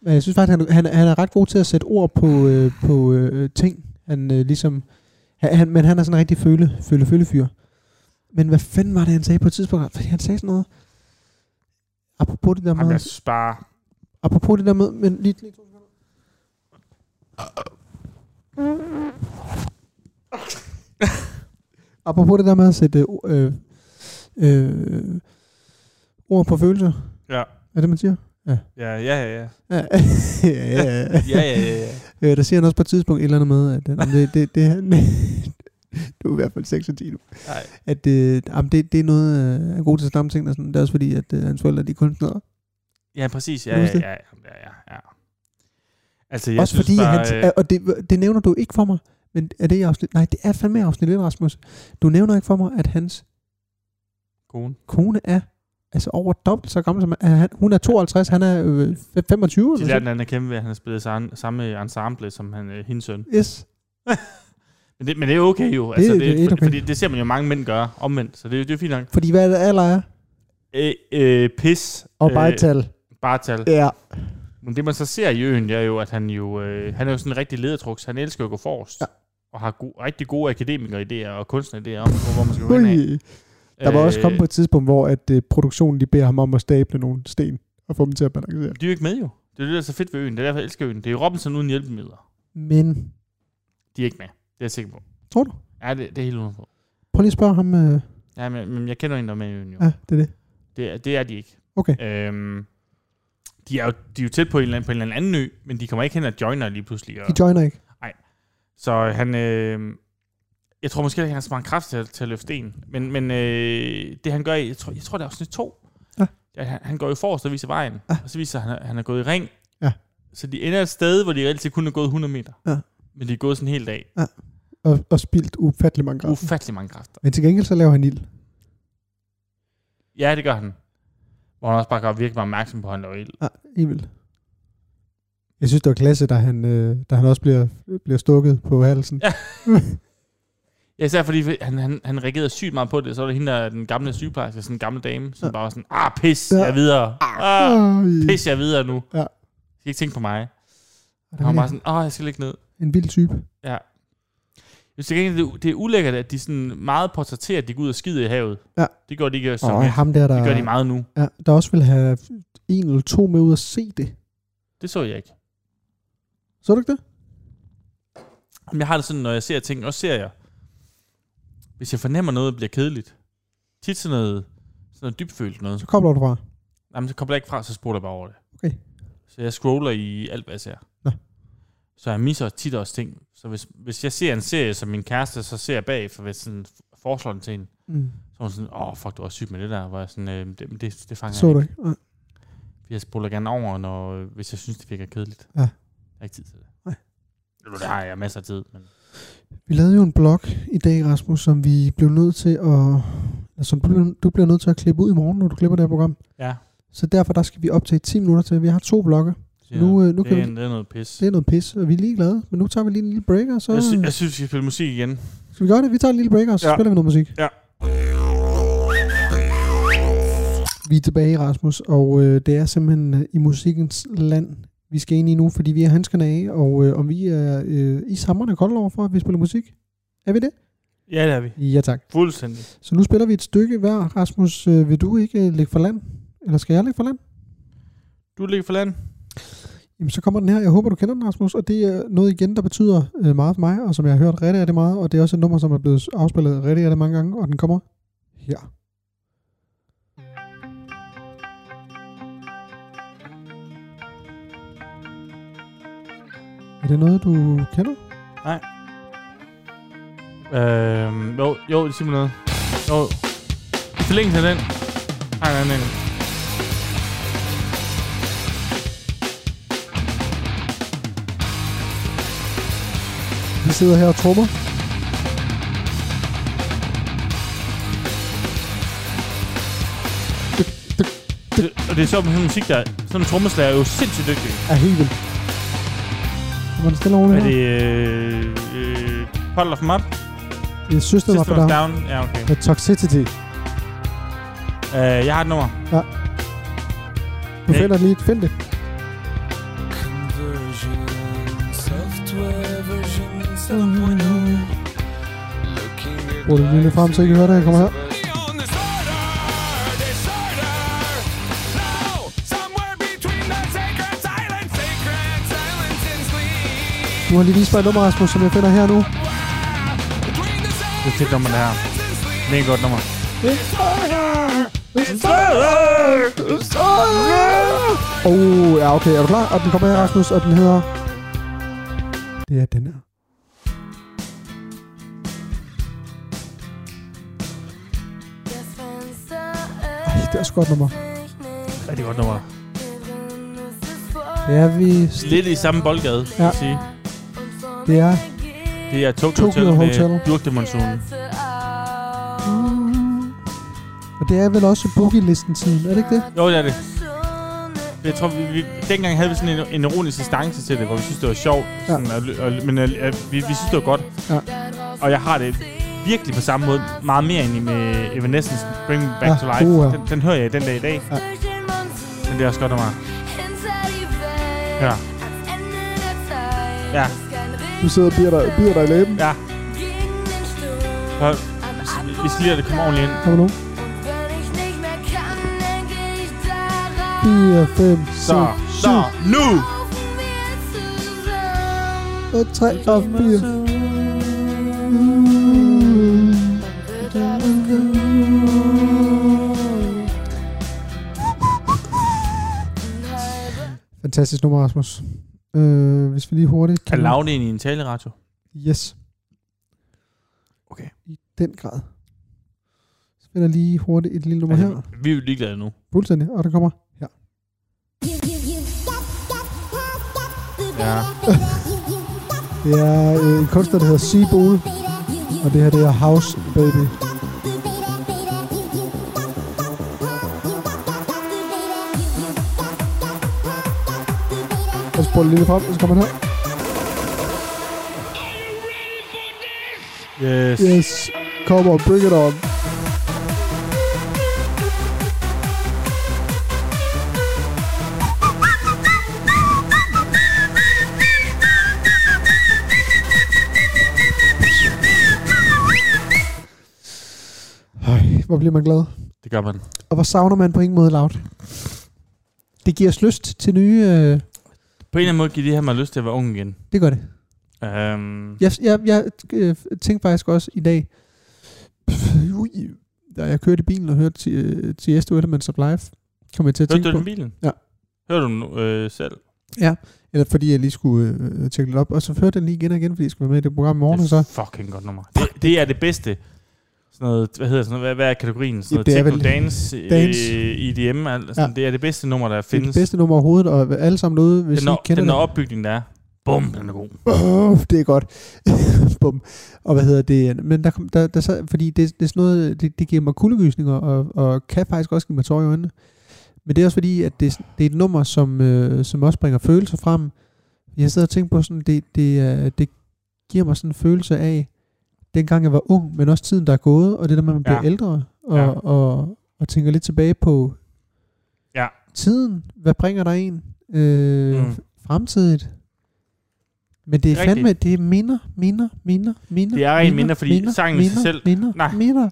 Speaker 2: men jeg synes faktisk, han, han, han er ret god til at sætte ord på, øh, på øh, ting. Han øh, ligesom... Han, han, men han er sådan en rigtig føle, føle, føle fyr. Men hvad fanden var det, han sagde på et tidspunkt? Fordi han sagde sådan noget... Apropos det der med...
Speaker 1: Jamen, jeg synes bare...
Speaker 2: Apropos det der med, men lige, lige to sekunder. Apropos det der med at sætte øh, øh, ord på følelser.
Speaker 1: Ja.
Speaker 2: Er det, man siger?
Speaker 1: Ja, ja, ja, ja.
Speaker 2: Ja, ja, ja.
Speaker 1: Ja, ja, ja, ja.
Speaker 2: Øh, der siger han også på et tidspunkt et eller andet med, at øh, jamen, det, det, det, han, du er i hvert fald 6 og 10 nu,
Speaker 1: Nej.
Speaker 2: at øh, jamen, det, det er noget, øh, han er god til at stamme ting, og sådan. det er også fordi, at øh, hans forældre de er kunstnere.
Speaker 1: Ja, præcis. Ja,
Speaker 2: Kan du
Speaker 1: ja,
Speaker 2: huske
Speaker 1: ja, ja, ja, ja. Altså, jeg
Speaker 2: også
Speaker 1: synes
Speaker 2: fordi,
Speaker 1: bare,
Speaker 2: han,
Speaker 1: øh,
Speaker 2: øh, og det, det nævner du ikke for mig, men er det i afsnit? Nej, det er fandme i afsnit 1, Rasmus. Du nævner ikke for mig, at hans
Speaker 1: kone.
Speaker 2: kone er altså over dobbelt så gammel som han. han hun er 52, han er øh, fe- 25.
Speaker 1: De
Speaker 2: Eller
Speaker 1: lærte
Speaker 2: sådan.
Speaker 1: hinanden at kæmpe ved, at han har spillet sam- samme ensemble som han, øh, hendes søn.
Speaker 2: Yes.
Speaker 1: Men det, men det er okay jo. Altså, det,
Speaker 2: det er
Speaker 1: det,
Speaker 2: helt
Speaker 1: det,
Speaker 2: okay.
Speaker 1: Fordi det ser man jo mange mænd gøre omvendt, så det, det er fint nok.
Speaker 2: Fordi hvad er det alder er?
Speaker 1: Øh, øh, pis.
Speaker 4: Og bare et
Speaker 1: øh,
Speaker 4: tal.
Speaker 1: bare tal.
Speaker 2: Ja.
Speaker 1: Men det man så ser i øen, det er jo, at han jo, øh, han er jo sådan en rigtig ledertruks. Han elsker at gå forrest.
Speaker 2: Ja.
Speaker 1: Ja. Og har go- rigtig gode akademikere-idéer og kunstneridéer om, hvor hvor man skal gå hen af. Øh,
Speaker 2: Ui. Der var også kommet på et tidspunkt, hvor at, øh, produktionen de beder ham om at stable nogle sten og få dem til at balancere.
Speaker 1: Øh, De er jo ikke med jo. Det er det, der er så fedt ved øen. Det er derfor, jeg elsker øen. Det er Robinson uden hjælpemidler.
Speaker 2: Men
Speaker 1: De er ikke med. Det er jeg sikker på.
Speaker 2: Tror du?
Speaker 1: Ja, det, det er helt uden på.
Speaker 2: prøv lige at spørge ham. Øh,
Speaker 1: Ja, men, men jeg kender en, der er med i øen jo.
Speaker 2: ja, det er det.
Speaker 1: Det, er- det er de ikke.
Speaker 2: Okay.
Speaker 1: Øhm, de, er jo, de er jo tæt på en, eller anden, på en eller anden ø, men de kommer ikke hen og joiner lige pludselig. Og,
Speaker 2: De joiner ikke.
Speaker 1: så han... Øh, jeg tror måske, at han har så meget kraft til, at- til at løfte sten. Men, men øh, det han gør i... Jeg tror, jeg tror det er afsnit 2.
Speaker 2: Ja.
Speaker 1: Han, han går jo forrest og viser vejen.
Speaker 2: Ja.
Speaker 1: Og så viser han, at han er gået i ring.
Speaker 2: Ja.
Speaker 1: Så de ender et sted, hvor de altid kun er gået 100 meter.
Speaker 2: Ja.
Speaker 1: Men de er gået sådan en hel dag.
Speaker 2: Og, og spildt ufattelig mange grader.
Speaker 1: Ufattelig mange kræfter.
Speaker 2: Men til gengæld så laver han ild.
Speaker 1: Ja, det gør han. Hvor han også bare gør virkelig meget opmærksom på, at han laver ild.
Speaker 2: Ja, Ah, Emil. Jeg synes, det var klasse, da han, øh, da han også bliver, bliver stukket på halsen.
Speaker 1: Ja. Ja, især fordi han, han, han reagerede sygt meget på det. Så var der hende, der, den gamle sygeplejerske, sådan en gammel dame, som
Speaker 2: Ja.
Speaker 1: bare var sådan, ah, pis,
Speaker 2: Ja.
Speaker 1: jeg er videre. Ah,
Speaker 2: Øj.
Speaker 1: pis, jeg er videre nu.
Speaker 2: Ja.
Speaker 1: Jeg skal ikke tænke på mig.
Speaker 2: Og der
Speaker 1: Han var
Speaker 2: er
Speaker 1: bare sådan, åh, jeg skal ligge ned.
Speaker 2: En vild type.
Speaker 1: Jeg synes, det, er, det er ulækkert, at de sådan meget portrætterer, at de går ud og skider i havet.
Speaker 2: Ja.
Speaker 1: Det gør de ikke så
Speaker 2: Og
Speaker 1: oh,
Speaker 2: ham der, der,
Speaker 1: Det gør de meget nu.
Speaker 2: ja, der også vil have en eller to med ud at se det.
Speaker 1: Det så jeg ikke.
Speaker 2: Så du ikke det?
Speaker 1: Men jeg har det sådan, når jeg ser ting, også ser jeg, hvis jeg fornemmer noget, bliver kedeligt. Tit sådan noget, sådan noget dybfølt noget.
Speaker 2: Så kobler du fra.
Speaker 1: Jamen, så kommer jeg ikke fra, så spoler jeg bare over det.
Speaker 2: Okay.
Speaker 1: Så jeg scroller i alt, hvad jeg ser.
Speaker 2: Nå.
Speaker 1: Så jeg misser tit også ting. Så hvis, hvis jeg ser en serie som min kæreste, så ser jeg bagefter, hvis sådan foreslår den til en.
Speaker 2: Mm.
Speaker 1: Så er hun sådan, åh, fuck, du var syg med det der. Hvor jeg sådan, øh, det, men det, det fanger
Speaker 2: Så
Speaker 1: jeg
Speaker 2: du
Speaker 1: ikke.
Speaker 2: ikke? Nej.
Speaker 1: Jeg spoler gerne over, når, øh, hvis jeg synes, det virker kedeligt.
Speaker 2: Ja.
Speaker 1: Jeg har ikke tid til det.
Speaker 2: Nej.
Speaker 1: Eller, Der har jeg masser af tid. Men...
Speaker 2: Vi lavede jo en blog i dag, Rasmus, som vi blev nødt til at... eller Som du, blev- du bliver nødt til at klippe ud i morgen, når du klipper det her program.
Speaker 1: Ja.
Speaker 2: Så derfor der skal vi optage 10 minutter til. Vi har to blokke.
Speaker 1: Så jeg-
Speaker 2: Nu, øh, nu
Speaker 1: det, er,
Speaker 2: kan
Speaker 1: en- det er noget pis.
Speaker 2: Det er noget pis, og vi er lige glade. Men nu tager vi lige en lille break, og så...
Speaker 1: Jeg, sy- jeg synes, vi skal spille musik igen.
Speaker 2: Skal vi gøre det? Vi tager en lille break, og så ja.
Speaker 1: Ja.
Speaker 2: spiller vi noget musik.
Speaker 1: Ja.
Speaker 2: Vi er tilbage, Rasmus, og øh, det er simpelthen øh, i musikkens land, vi skal ind i nu, fordi vi er handskerne af, og øh, om vi er øh, i samrende kolde over for, at vi spiller musik. Er vi det?
Speaker 1: Ja, det er vi.
Speaker 2: Ja, tak.
Speaker 1: Fuldstændig.
Speaker 2: Så nu spiller vi et stykke hver. Rasmus, øh, vil du ikke øh, lægge for land? Eller skal jeg lægge for land?
Speaker 1: Du ligger for land.
Speaker 2: Jamen, så kommer den her. Jeg håber, du kender den, Rasmus. Og det er noget igen, der betyder øh, meget for mig, og som jeg har hørt rigtig, rigtig meget. Og det er også et nummer, som er blevet afspillet rigtig, rigtig mange gange. Og den kommer her. Er det noget, du kender?
Speaker 1: Øhm, jo, jo, sig mig noget. Jo. Forlæng til den. Nej, nej, nej.
Speaker 2: Vi sidder her og trummer.
Speaker 1: Det, og det er sjovt med sådan musik, der... Sådan en trommeslager er jo sindssygt dygtig.
Speaker 2: Er helt vildt. Var det stille og roligt
Speaker 1: Er
Speaker 2: her?
Speaker 1: det... Øh, øh, Puddle of Mud?
Speaker 2: Jeg synes, det var for
Speaker 1: System of
Speaker 2: dig.
Speaker 1: Down? Ja, okay.
Speaker 2: Med Toxicity.
Speaker 1: Øh, jeg har et nummer.
Speaker 2: Du
Speaker 1: Nej.
Speaker 2: finder det lige. Find det.
Speaker 3: Conversion, software version,
Speaker 2: Brug det lige lidt frem, så I kan høre det. Jeg kommer her. Du har lige vist mig et nummer, Rasmus, som jeg finder her nu.
Speaker 1: Det er et nummer, det her. Det er et godt nummer.
Speaker 2: Åh, oh, ja, okay. Er du klar? Og den kommer her, Rasmus, og den hedder... Det er den her. Ej, det er også et godt nummer.
Speaker 1: Rigtig godt nummer.
Speaker 2: Det er vi...
Speaker 1: Lidt i samme boldgade, ja.
Speaker 2: Ja.
Speaker 1: vil sige.
Speaker 2: Det er...
Speaker 1: Det er Tokyo,
Speaker 2: Tokyo
Speaker 1: Hotel, Hotel. med
Speaker 2: Hotel.
Speaker 1: Durk de Monsoon.
Speaker 2: Og det er vel også boogie-listen-tiden, er det ikke det?
Speaker 1: Jo, det er det. Jeg tror, vi, vi, dengang havde vi sådan en, en ironisk distance til det, hvor vi synes, det var sjovt.
Speaker 2: Ja.
Speaker 1: Sådan, og, og, men øh, øh, vi, vi synes, det var godt.
Speaker 2: Ja.
Speaker 1: Og jeg har det virkelig på samme måde meget mere end i med Evanescence Bring Me Back
Speaker 2: Ja,
Speaker 1: to Life.
Speaker 2: uha.
Speaker 1: Den, den hører jeg den dag i dag, men det er også godt nummer. Ja, Ja.
Speaker 2: Du sidder og bider dig, bider dig i læben.
Speaker 1: ja. Hør, vi skal lige lade det komme ordentligt ind.
Speaker 2: Kom nu. 4, 5, 6,
Speaker 1: Så, så,
Speaker 2: 7,
Speaker 1: nu!
Speaker 2: 8, 3 og 4. Fantastisk nummer, Rasmus. Øh, hvis vi lige hurtigt...
Speaker 1: Kan lave det ind i en taleradio?
Speaker 2: Yes.
Speaker 1: Okay.
Speaker 2: I den grad. Så finder jeg lige hurtigt et lille nummer her.
Speaker 1: Vi er jo ligeglade nu.
Speaker 2: Fuldstændig. Og der kommer her.
Speaker 1: Ja.
Speaker 2: Det er øh, en kunstner, der hedder Seabull. Og det her, det er House Baby. Og så spurgte lidt frem, og så kommer han her.
Speaker 1: Yes.
Speaker 2: Yes. Kom on, bring it on. Øj, hvor bliver man glad.
Speaker 1: Det gør man.
Speaker 2: Og hvor savner man på ingen måde loud. Det giver os lyst til nye... Øh,
Speaker 1: På en eller anden måde giver det her mig lyst til at være ung igen.
Speaker 2: det gør det.
Speaker 1: Øhm,
Speaker 2: Jeg, jeg, jeg øh, tænkte faktisk også i dag, pff, ui, da jeg kørte i bilen og hørte til, øh, til Esto Edelman Live, kom jeg til at
Speaker 1: Hørte
Speaker 2: tænke
Speaker 1: du
Speaker 2: på,
Speaker 1: den bilen?
Speaker 2: Ja.
Speaker 1: Hørte du den nu, øh, selv?
Speaker 2: eller fordi jeg lige skulle øh, øh, tjekke lidt op, og så hørte jeg den lige igen og igen, fordi jeg skulle være med i det program i morgen, og
Speaker 1: det
Speaker 2: så
Speaker 1: er fucking godt nummer. Det, det er det bedste. Sådan noget, hvad hedder sådan noget, hvad, hvad er kategorien? Sådan
Speaker 2: Ja, det
Speaker 1: noget
Speaker 2: er
Speaker 1: techno,
Speaker 2: vel-
Speaker 1: dance,
Speaker 2: dance.
Speaker 1: dance. Øh, IDM, alt, sådan, ja.
Speaker 2: Ja.
Speaker 1: det er det bedste nummer, der
Speaker 2: det er det
Speaker 1: findes.
Speaker 2: bedste nummer overhovedet, og alle sammen derude, hvis
Speaker 1: den,
Speaker 2: I
Speaker 1: når,
Speaker 2: kender
Speaker 1: den, når
Speaker 2: det.
Speaker 1: opbygning der er. Bum, den er god.
Speaker 2: Åh, det er godt. Bum. Og hvad hedder det? Men der, kom- der, der så, fordi det, det er sådan noget, det, det giver mig kuldegysninger, og, og kan faktisk også give mig tårer i øjnene. Men det er også fordi, at det, er sådan- det er et nummer, som, øh, som også bringer følelser frem. Jeg sidder og tænker på sådan, det, det, er- det giver mig sådan en følelse af, dengang jeg var ung, men også tiden, der er gået, og det der med, at man bliver
Speaker 1: Ja.
Speaker 2: ja. ældre, og,
Speaker 1: Ja.
Speaker 2: ja. og, og, og tænker lidt tilbage på
Speaker 1: Ja.
Speaker 2: tiden. Hvad bringer der en? Øh,
Speaker 1: Mm.
Speaker 2: mm. Fremtidigt. Men det er
Speaker 1: Det er rigtigt.
Speaker 2: fandme, det er minder, minder, minder, minder.
Speaker 1: Det er rent minder, fordi sangen i sig
Speaker 2: minder,
Speaker 1: selv-
Speaker 2: Minder,
Speaker 1: Nej.
Speaker 2: Nej. minder.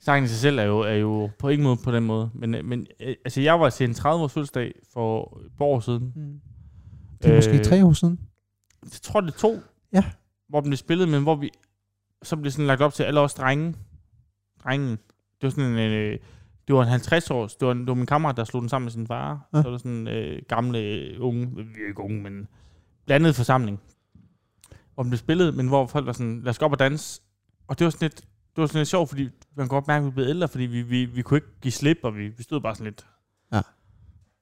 Speaker 1: Sangen i sig selv er jo, er jo på ingen måde på den måde. Men, øh, men øh, altså, jeg var til en 30-års fødselsdag for et par år siden.
Speaker 2: Mm. Det er øh. måske tre år siden.
Speaker 1: Jeg tror, det er to.
Speaker 2: Ja.
Speaker 1: Hvor den blev spillet, men hvor vi... Så blev det sådan lagt op til alle os drenge. Drengen. Det var sådan en... Øh, det var en 50 års... Det var, en, det var min kammerat, der slog den sammen med sin far. Ja.
Speaker 2: Ja.
Speaker 1: Så var der sådan øh, gamle, øh, unge... Vi er ikke unge, men... Blandet forsamling. om det spillede, men hvor folk var sådan, lad os gå op og danse. Og det var sådan lidt, det var sådan lidt sjovt, fordi man kunne godt mærke, at vi blev ældre, fordi vi, vi, vi kunne ikke give slip, og vi, vi stod bare sådan lidt
Speaker 2: Ja.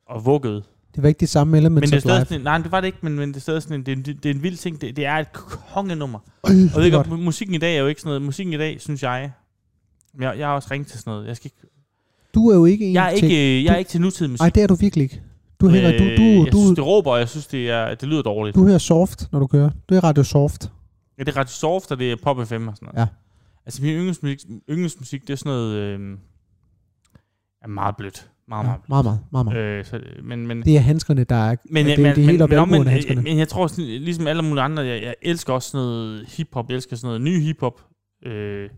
Speaker 1: og vuggede.
Speaker 2: Det var ikke de samme elements
Speaker 1: Men det er
Speaker 2: men
Speaker 1: stadig
Speaker 2: live.
Speaker 1: sådan, en- nej, men det var det ikke, men, men det er stadig sådan, en- det er, en, det er en vild ting, det, det er et kongenummer.
Speaker 2: Øh,
Speaker 1: Og jeg ved
Speaker 2: godt.
Speaker 1: godt, musikken i dag er jo ikke sådan noget. Musikken i dag, synes jeg... men Jeg, jeg har også ringet til sådan noget. Jeg, skal ikke,
Speaker 2: Du er jo ikke en
Speaker 1: jeg, er,
Speaker 2: til...
Speaker 1: ikke, øh, jeg er ikke til nutidig musik.
Speaker 2: Nej, det er du virkelig ikke. Du, øh, du, du,
Speaker 1: jeg
Speaker 2: du,
Speaker 1: synes, det råber, og jeg synes, det, er, det lyder dårligt.
Speaker 2: du hører soft, når du kører. Du er radio soft.
Speaker 1: Ja, det er ret soft, og det er pop FM og sådan noget.
Speaker 2: Ja.
Speaker 1: Altså, min yndlingsmusik, yndlingsmusik det er sådan noget... Øh, er meget blødt. Meget,
Speaker 2: Ja,
Speaker 1: meget blødt.
Speaker 2: meget, meget, meget, meget. Øh,
Speaker 1: Øh, så, men, men,
Speaker 2: det er handskerne, der er...
Speaker 1: men,
Speaker 2: det,
Speaker 1: men,
Speaker 2: det er helt op i
Speaker 1: men,
Speaker 2: albuerne,
Speaker 1: men,
Speaker 2: handskerne.
Speaker 1: men, men jeg tror, sådan, ligesom alle mulige andre, jeg, jeg elsker også sådan noget hiphop. Jeg elsker sådan noget ny hiphop. Øh, jeg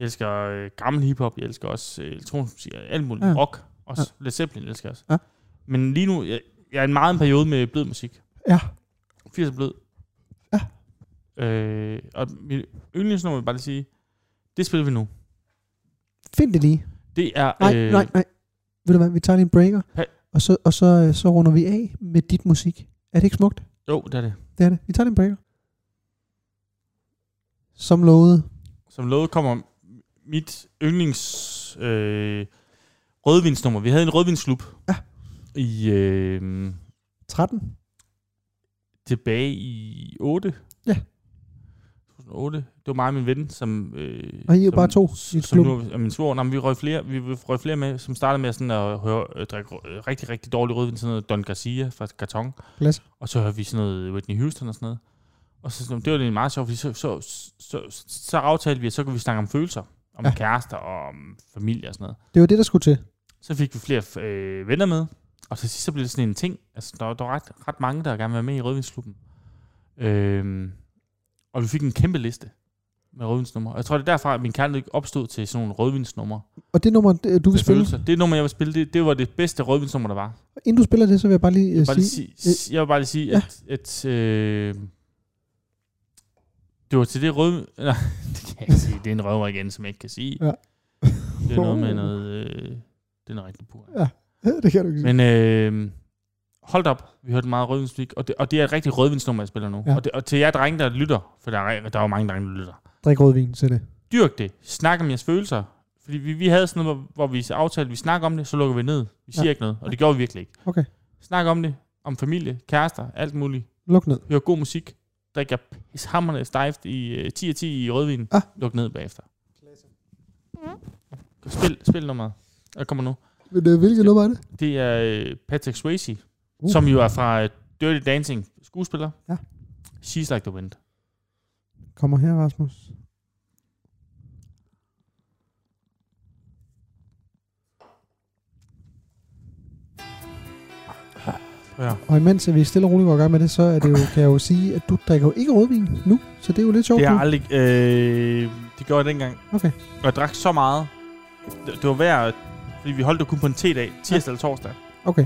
Speaker 1: elsker øh, gammel hiphop. Jeg elsker også øh, elektronisk musik. og Alt muligt.
Speaker 2: Ja.
Speaker 1: Ja. Rock. Også ja. Led Zeppelin elsker jeg også.
Speaker 2: Ja.
Speaker 1: Men lige nu, jeg, jeg er i en meget en periode med blød musik.
Speaker 2: Ja.
Speaker 1: 80 er blød. Ja. Øh, og mit yndlingsnummer vil jeg bare lige sige, det spiller vi nu.
Speaker 2: Find det lige.
Speaker 1: Det er...
Speaker 2: Nej, øh, nej, nej. Ved du hvad, vi tager lige en breaker,
Speaker 1: Hey.
Speaker 2: og, så, og så, øh, så runder vi af med dit musik. Er det ikke smukt?
Speaker 1: Jo, det er det.
Speaker 2: Det er det. Vi tager lige en breaker. Som lovet.
Speaker 1: som lovet kommer mit yndlings øh, rødvinsnummer. Vi havde en rødvinsklub
Speaker 2: Ja.
Speaker 1: i, øh,
Speaker 2: 13.
Speaker 1: tilbage i 8.
Speaker 2: Ja.
Speaker 1: 2008. Det var mig og min ven, som... Øh,
Speaker 2: Og I er jo
Speaker 1: som-
Speaker 2: bare to i et
Speaker 1: som
Speaker 2: klub.
Speaker 1: nu, og min svor, nej, men vi røg flere, vi røg flere med, som startede med sådan at høre, øh, drikke øh, rigtig, rigtig dårlig rødvin, sådan noget Don Garcia fra Karton.
Speaker 2: Glas.
Speaker 1: Og så hørte vi sådan noget Whitney Houston og sådan noget. Og så, sådan, det var lidt meget sjovt, fordi så, så, så, så, så aftalte vi, at så kunne vi snakke om følelser. Om
Speaker 2: Ja.
Speaker 1: ja. kærester og om familie og sådan noget.
Speaker 2: Det var det, der skulle til.
Speaker 1: Så fik vi flere øh, venner med. Og til sidst så blev det sådan en ting. Altså, der, var- der var ret, ret mange, der gerne ville være med i Rødvinsklubben. Øhm, og vi fik en kæmpe liste med rødvinsnumre. Og jeg tror, det er derfra, at min kærlighed opstod til sådan nogle rødvinsnumre.
Speaker 2: Og det nummer, det- du vil
Speaker 1: Til
Speaker 2: spille,
Speaker 1: følelser. Det nummer, jeg vil spille, det, det var det bedste rødvinsnummer, der var.
Speaker 2: inden du spiller det, så vil jeg bare lige, øh,
Speaker 1: bare
Speaker 2: sige,
Speaker 1: lige sige, jeg vil bare lige sige,
Speaker 2: Ja.
Speaker 1: ja. at, at øh, det var til det røde... Nej, det kan jeg ikke sige. Det er en røver igen, som jeg ikke kan sige.
Speaker 2: Ja.
Speaker 1: Det er noget med noget... Øh, det er noget rigtig pur.
Speaker 2: Ja. det kan du ikke sige.
Speaker 1: Men øh, hold da op, vi hørte meget rødvinsmusik, og det, og det er et rigtig rødvinsnummer, jeg spiller nu.
Speaker 2: Ja.
Speaker 1: Ja. Og, det, og til jer drenge, der lytter, for der er, der er jo mange drenge, der lytter,
Speaker 2: Drik rødvin til det.
Speaker 1: dyrk det. Snak om jeres følelser. Fordi vi, vi havde sådan noget, hvor, hvor vi aftalte, at vi snakker om det, så lukker vi ned. Vi siger
Speaker 2: Ja.
Speaker 1: ja. ikke noget, og det gjorde vi virkelig ikke.
Speaker 2: Okay.
Speaker 1: Snak om det, om familie, kærester, alt muligt.
Speaker 2: Luk ned.
Speaker 1: Hør god musik. Drik jer pishammerne stejft i øh, 10 af 10 i rødvin.
Speaker 2: Ah.
Speaker 1: Luk ned bagefter. Spil, spil nummeret. Jeg kommer nu.
Speaker 2: Men, øh, hvilket
Speaker 1: Ja.
Speaker 2: nummer er det?
Speaker 1: Det er øh, Patrick Swayze,
Speaker 2: Uh.
Speaker 1: uh. som jo er fra øh, Dirty Dancing skuespiller.
Speaker 2: Ja.
Speaker 1: She's Like the Wind.
Speaker 2: Kommer her, Rasmus.
Speaker 1: Ja.
Speaker 2: Og imens at vi stille og roligt går i gang med det, så er det jo, kan jeg jo sige, at du drikker jo ikke rødvin nu, så det er jo lidt sjovt.
Speaker 1: Det
Speaker 2: nu.
Speaker 1: har aldrig... Øh, det gjorde jeg dengang.
Speaker 2: Okay.
Speaker 1: Og jeg drak så meget. Det, det var hver... Fordi vi holdt det kun på en T-dag. Tirsdag eller torsdag.
Speaker 2: Okay,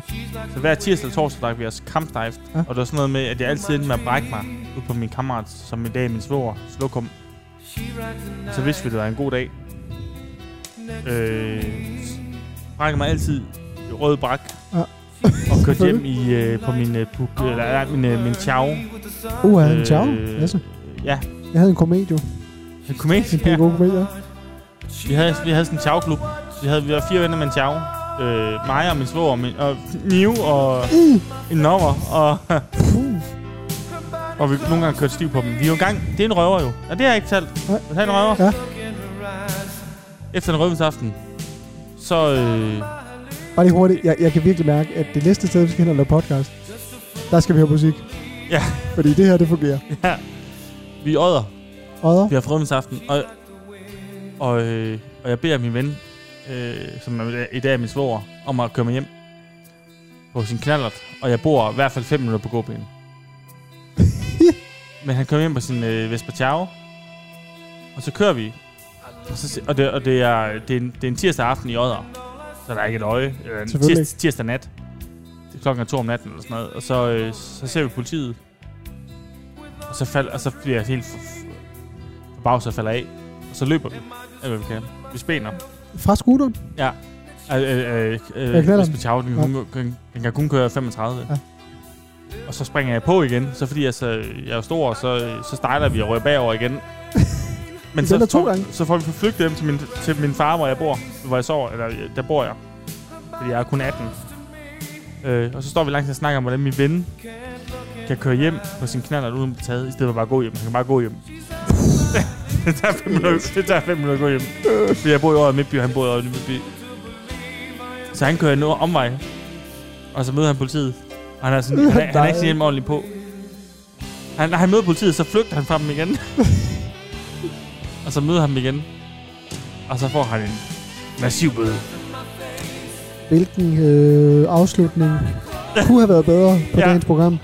Speaker 1: Så hver tirsdag eller torsdag drak vi os kampstejft. Ja.
Speaker 2: Ja.
Speaker 1: Og det var sådan noget med, at jeg altid endte med at brække mig ud på min kammerat, som i dag er min svoger, Slukum. Og så vidste vi, det var en god dag. Øh, s- brækkede mig altid i rød brak.
Speaker 2: Ja.
Speaker 1: Og kørte hjem i, øh, på min, øh, puk, eller, nej, min, øh, min chow.
Speaker 2: uh, er en ciao.
Speaker 1: Øh,
Speaker 2: Lasse.
Speaker 1: Ja,
Speaker 2: Jeg havde en komedio.
Speaker 1: en komedie.
Speaker 2: Det er en god komedio.
Speaker 1: Vi havde, vi havde sådan en tjavklub. Vi, havde, vi var fire venner med en tjav. Øh, mig og min svoger, og min, og Niu og en nummer, og, og vi nogle gange kørte stiv på dem. Vi er jo engang, det er en røver jo. Ja, det har jeg ikke talt.
Speaker 2: Nej.
Speaker 1: Jeg tager en røver.
Speaker 2: Ja.
Speaker 1: Efter en røvensaften, så, øh,
Speaker 2: Bare lige hurtigt. Jeg, jeg kan virkelig mærke, at det næste sted, vi skal hen og lave podcast, der skal vi høre musik.
Speaker 1: Ja.
Speaker 2: Fordi det her, det fungerer.
Speaker 1: ja, vi er odder.
Speaker 2: Odder?
Speaker 1: Vi har haft rødvinsaften, og, og, øh, og jeg beder min ven, øh, som er, i dag er min svoger, om at køre mig hjem på sin knallert. Og jeg bor i hvert fald 5 minutter på gåbenen. Men han kører hjem på sin øh, Vespa Chao, og så kører vi. Og, så, se- og, det, og det, er, det, er en, det er en tirsdag aften i Odder, så der er ikke et øje. Eller en
Speaker 2: Selvfølgelig
Speaker 1: tirs, tirsdag nat. Det er klokken er to om natten eller sådan noget. Og så, øh, så ser vi politiet. Og så, fald, og så bliver jeg helt f- forbavset og falder af. Og så løber vi. Eller hvad vi kan. Vi spænder.
Speaker 2: Fra scooteren?
Speaker 1: Ja. Øh, øh, øh, øh,
Speaker 2: knallert.
Speaker 1: Lisbeth Chau, den, hun- den, den kan kun køre 35.
Speaker 2: Ja.
Speaker 1: Ja. Og så springer jeg på igen, så fordi jeg, så, jeg er stor, så, så stejler vi og rører bagover igen. Men
Speaker 2: Den er to
Speaker 1: får,
Speaker 2: gange.
Speaker 1: så får vi forflygtet dem til min, til min far, hvor jeg bor. Hvor jeg sover, eller øh, der bor jeg. Fordi jeg er kun 18. Øh, og så står vi langt og snakker om, hvordan min ven kan køre hjem på sin knaller uden at blive taget, i stedet for bare at gå hjem. Han kan bare gå hjem. det tager fem minutter, det tager fem minutter at gå hjem. Fordi jeg bor i Odder Midtby, og han bor i Odder Midtby. Så han kører en omvej, og så møder han politiet. Og han er, sådan, han, er, han er ikke sin hjelm ordentligt på. Han, når han møder politiet, så flygter han fra dem igen. og så møder han dem igen. Og så får han en massiv bøde.
Speaker 2: Hvilken øh, afslutning kunne have været bedre på
Speaker 1: Ja.
Speaker 2: ja. dagens program?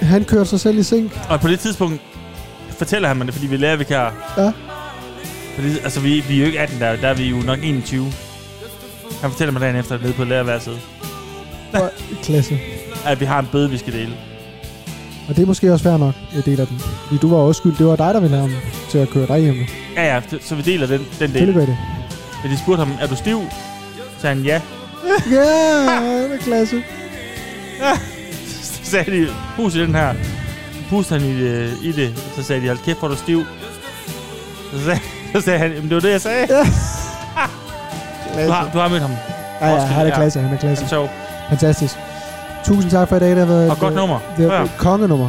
Speaker 2: Han kørte sig selv i sink.
Speaker 1: Og på det tidspunkt fortæller han mig det, fordi vi lærer vikarer.
Speaker 2: Ja.
Speaker 1: Fordi, altså, vi, vi er jo ikke 18, der, der er vi jo nok 21. Han fortæller mig dagen efter, nede på lærerværelset,
Speaker 2: Og, klasse.
Speaker 1: at vi har en bøde, vi skal dele.
Speaker 2: Og det er måske også fair nok, jeg deler den. Fordi du var også skyld. Det var dig, der ville have ham til at køre dig hjem.
Speaker 1: Ja, ja, så- så vi deler den, den del.
Speaker 2: Selvfølgelig gør I det.
Speaker 1: Men de spurgte ham, er du stiv? Så sagde han, ja.
Speaker 2: Ja, det er klasse.
Speaker 1: Så sagde de, pus i den her. Så pustede han i det, i det. Så sagde de, hold kæft, hvor er du stiv. Så sagde, så sagde han, jamen det var det, jeg sagde. Du har, du har mødt ham.
Speaker 2: Ja, ja,
Speaker 1: Roskilde,
Speaker 2: han er
Speaker 1: ja.
Speaker 2: klasse, han er klasse.
Speaker 1: Han er sjov.
Speaker 2: Fantastisk. Tusind tak for i dag. Det har været
Speaker 1: Og godt
Speaker 2: øh,
Speaker 1: nummer.
Speaker 2: Det har
Speaker 1: Ja.
Speaker 2: været et kongenummer.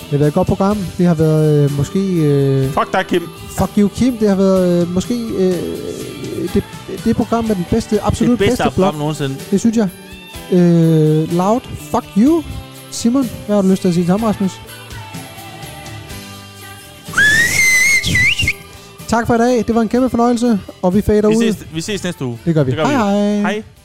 Speaker 2: Det har været et godt program. Det har været øh, måske... Øh,
Speaker 1: Fuck dig, Kim.
Speaker 2: fuck you, Kim. Det har været øh, måske... Øh, det, det program med den bedste, absolut
Speaker 1: Det bedste
Speaker 2: bedste blog.
Speaker 1: program nogensinde.
Speaker 2: Det synes jeg. Øh, loud, fuck you. Simon, hvad har du lyst til at sige til ham, Rasmus? Tak for i dag. Det var en kæmpe fornøjelse, og vi fader
Speaker 1: Vi
Speaker 2: ud.
Speaker 1: ses, vi ses næste uge.
Speaker 2: Det gør vi.
Speaker 1: Det gør vi.
Speaker 2: hej.
Speaker 1: Hej.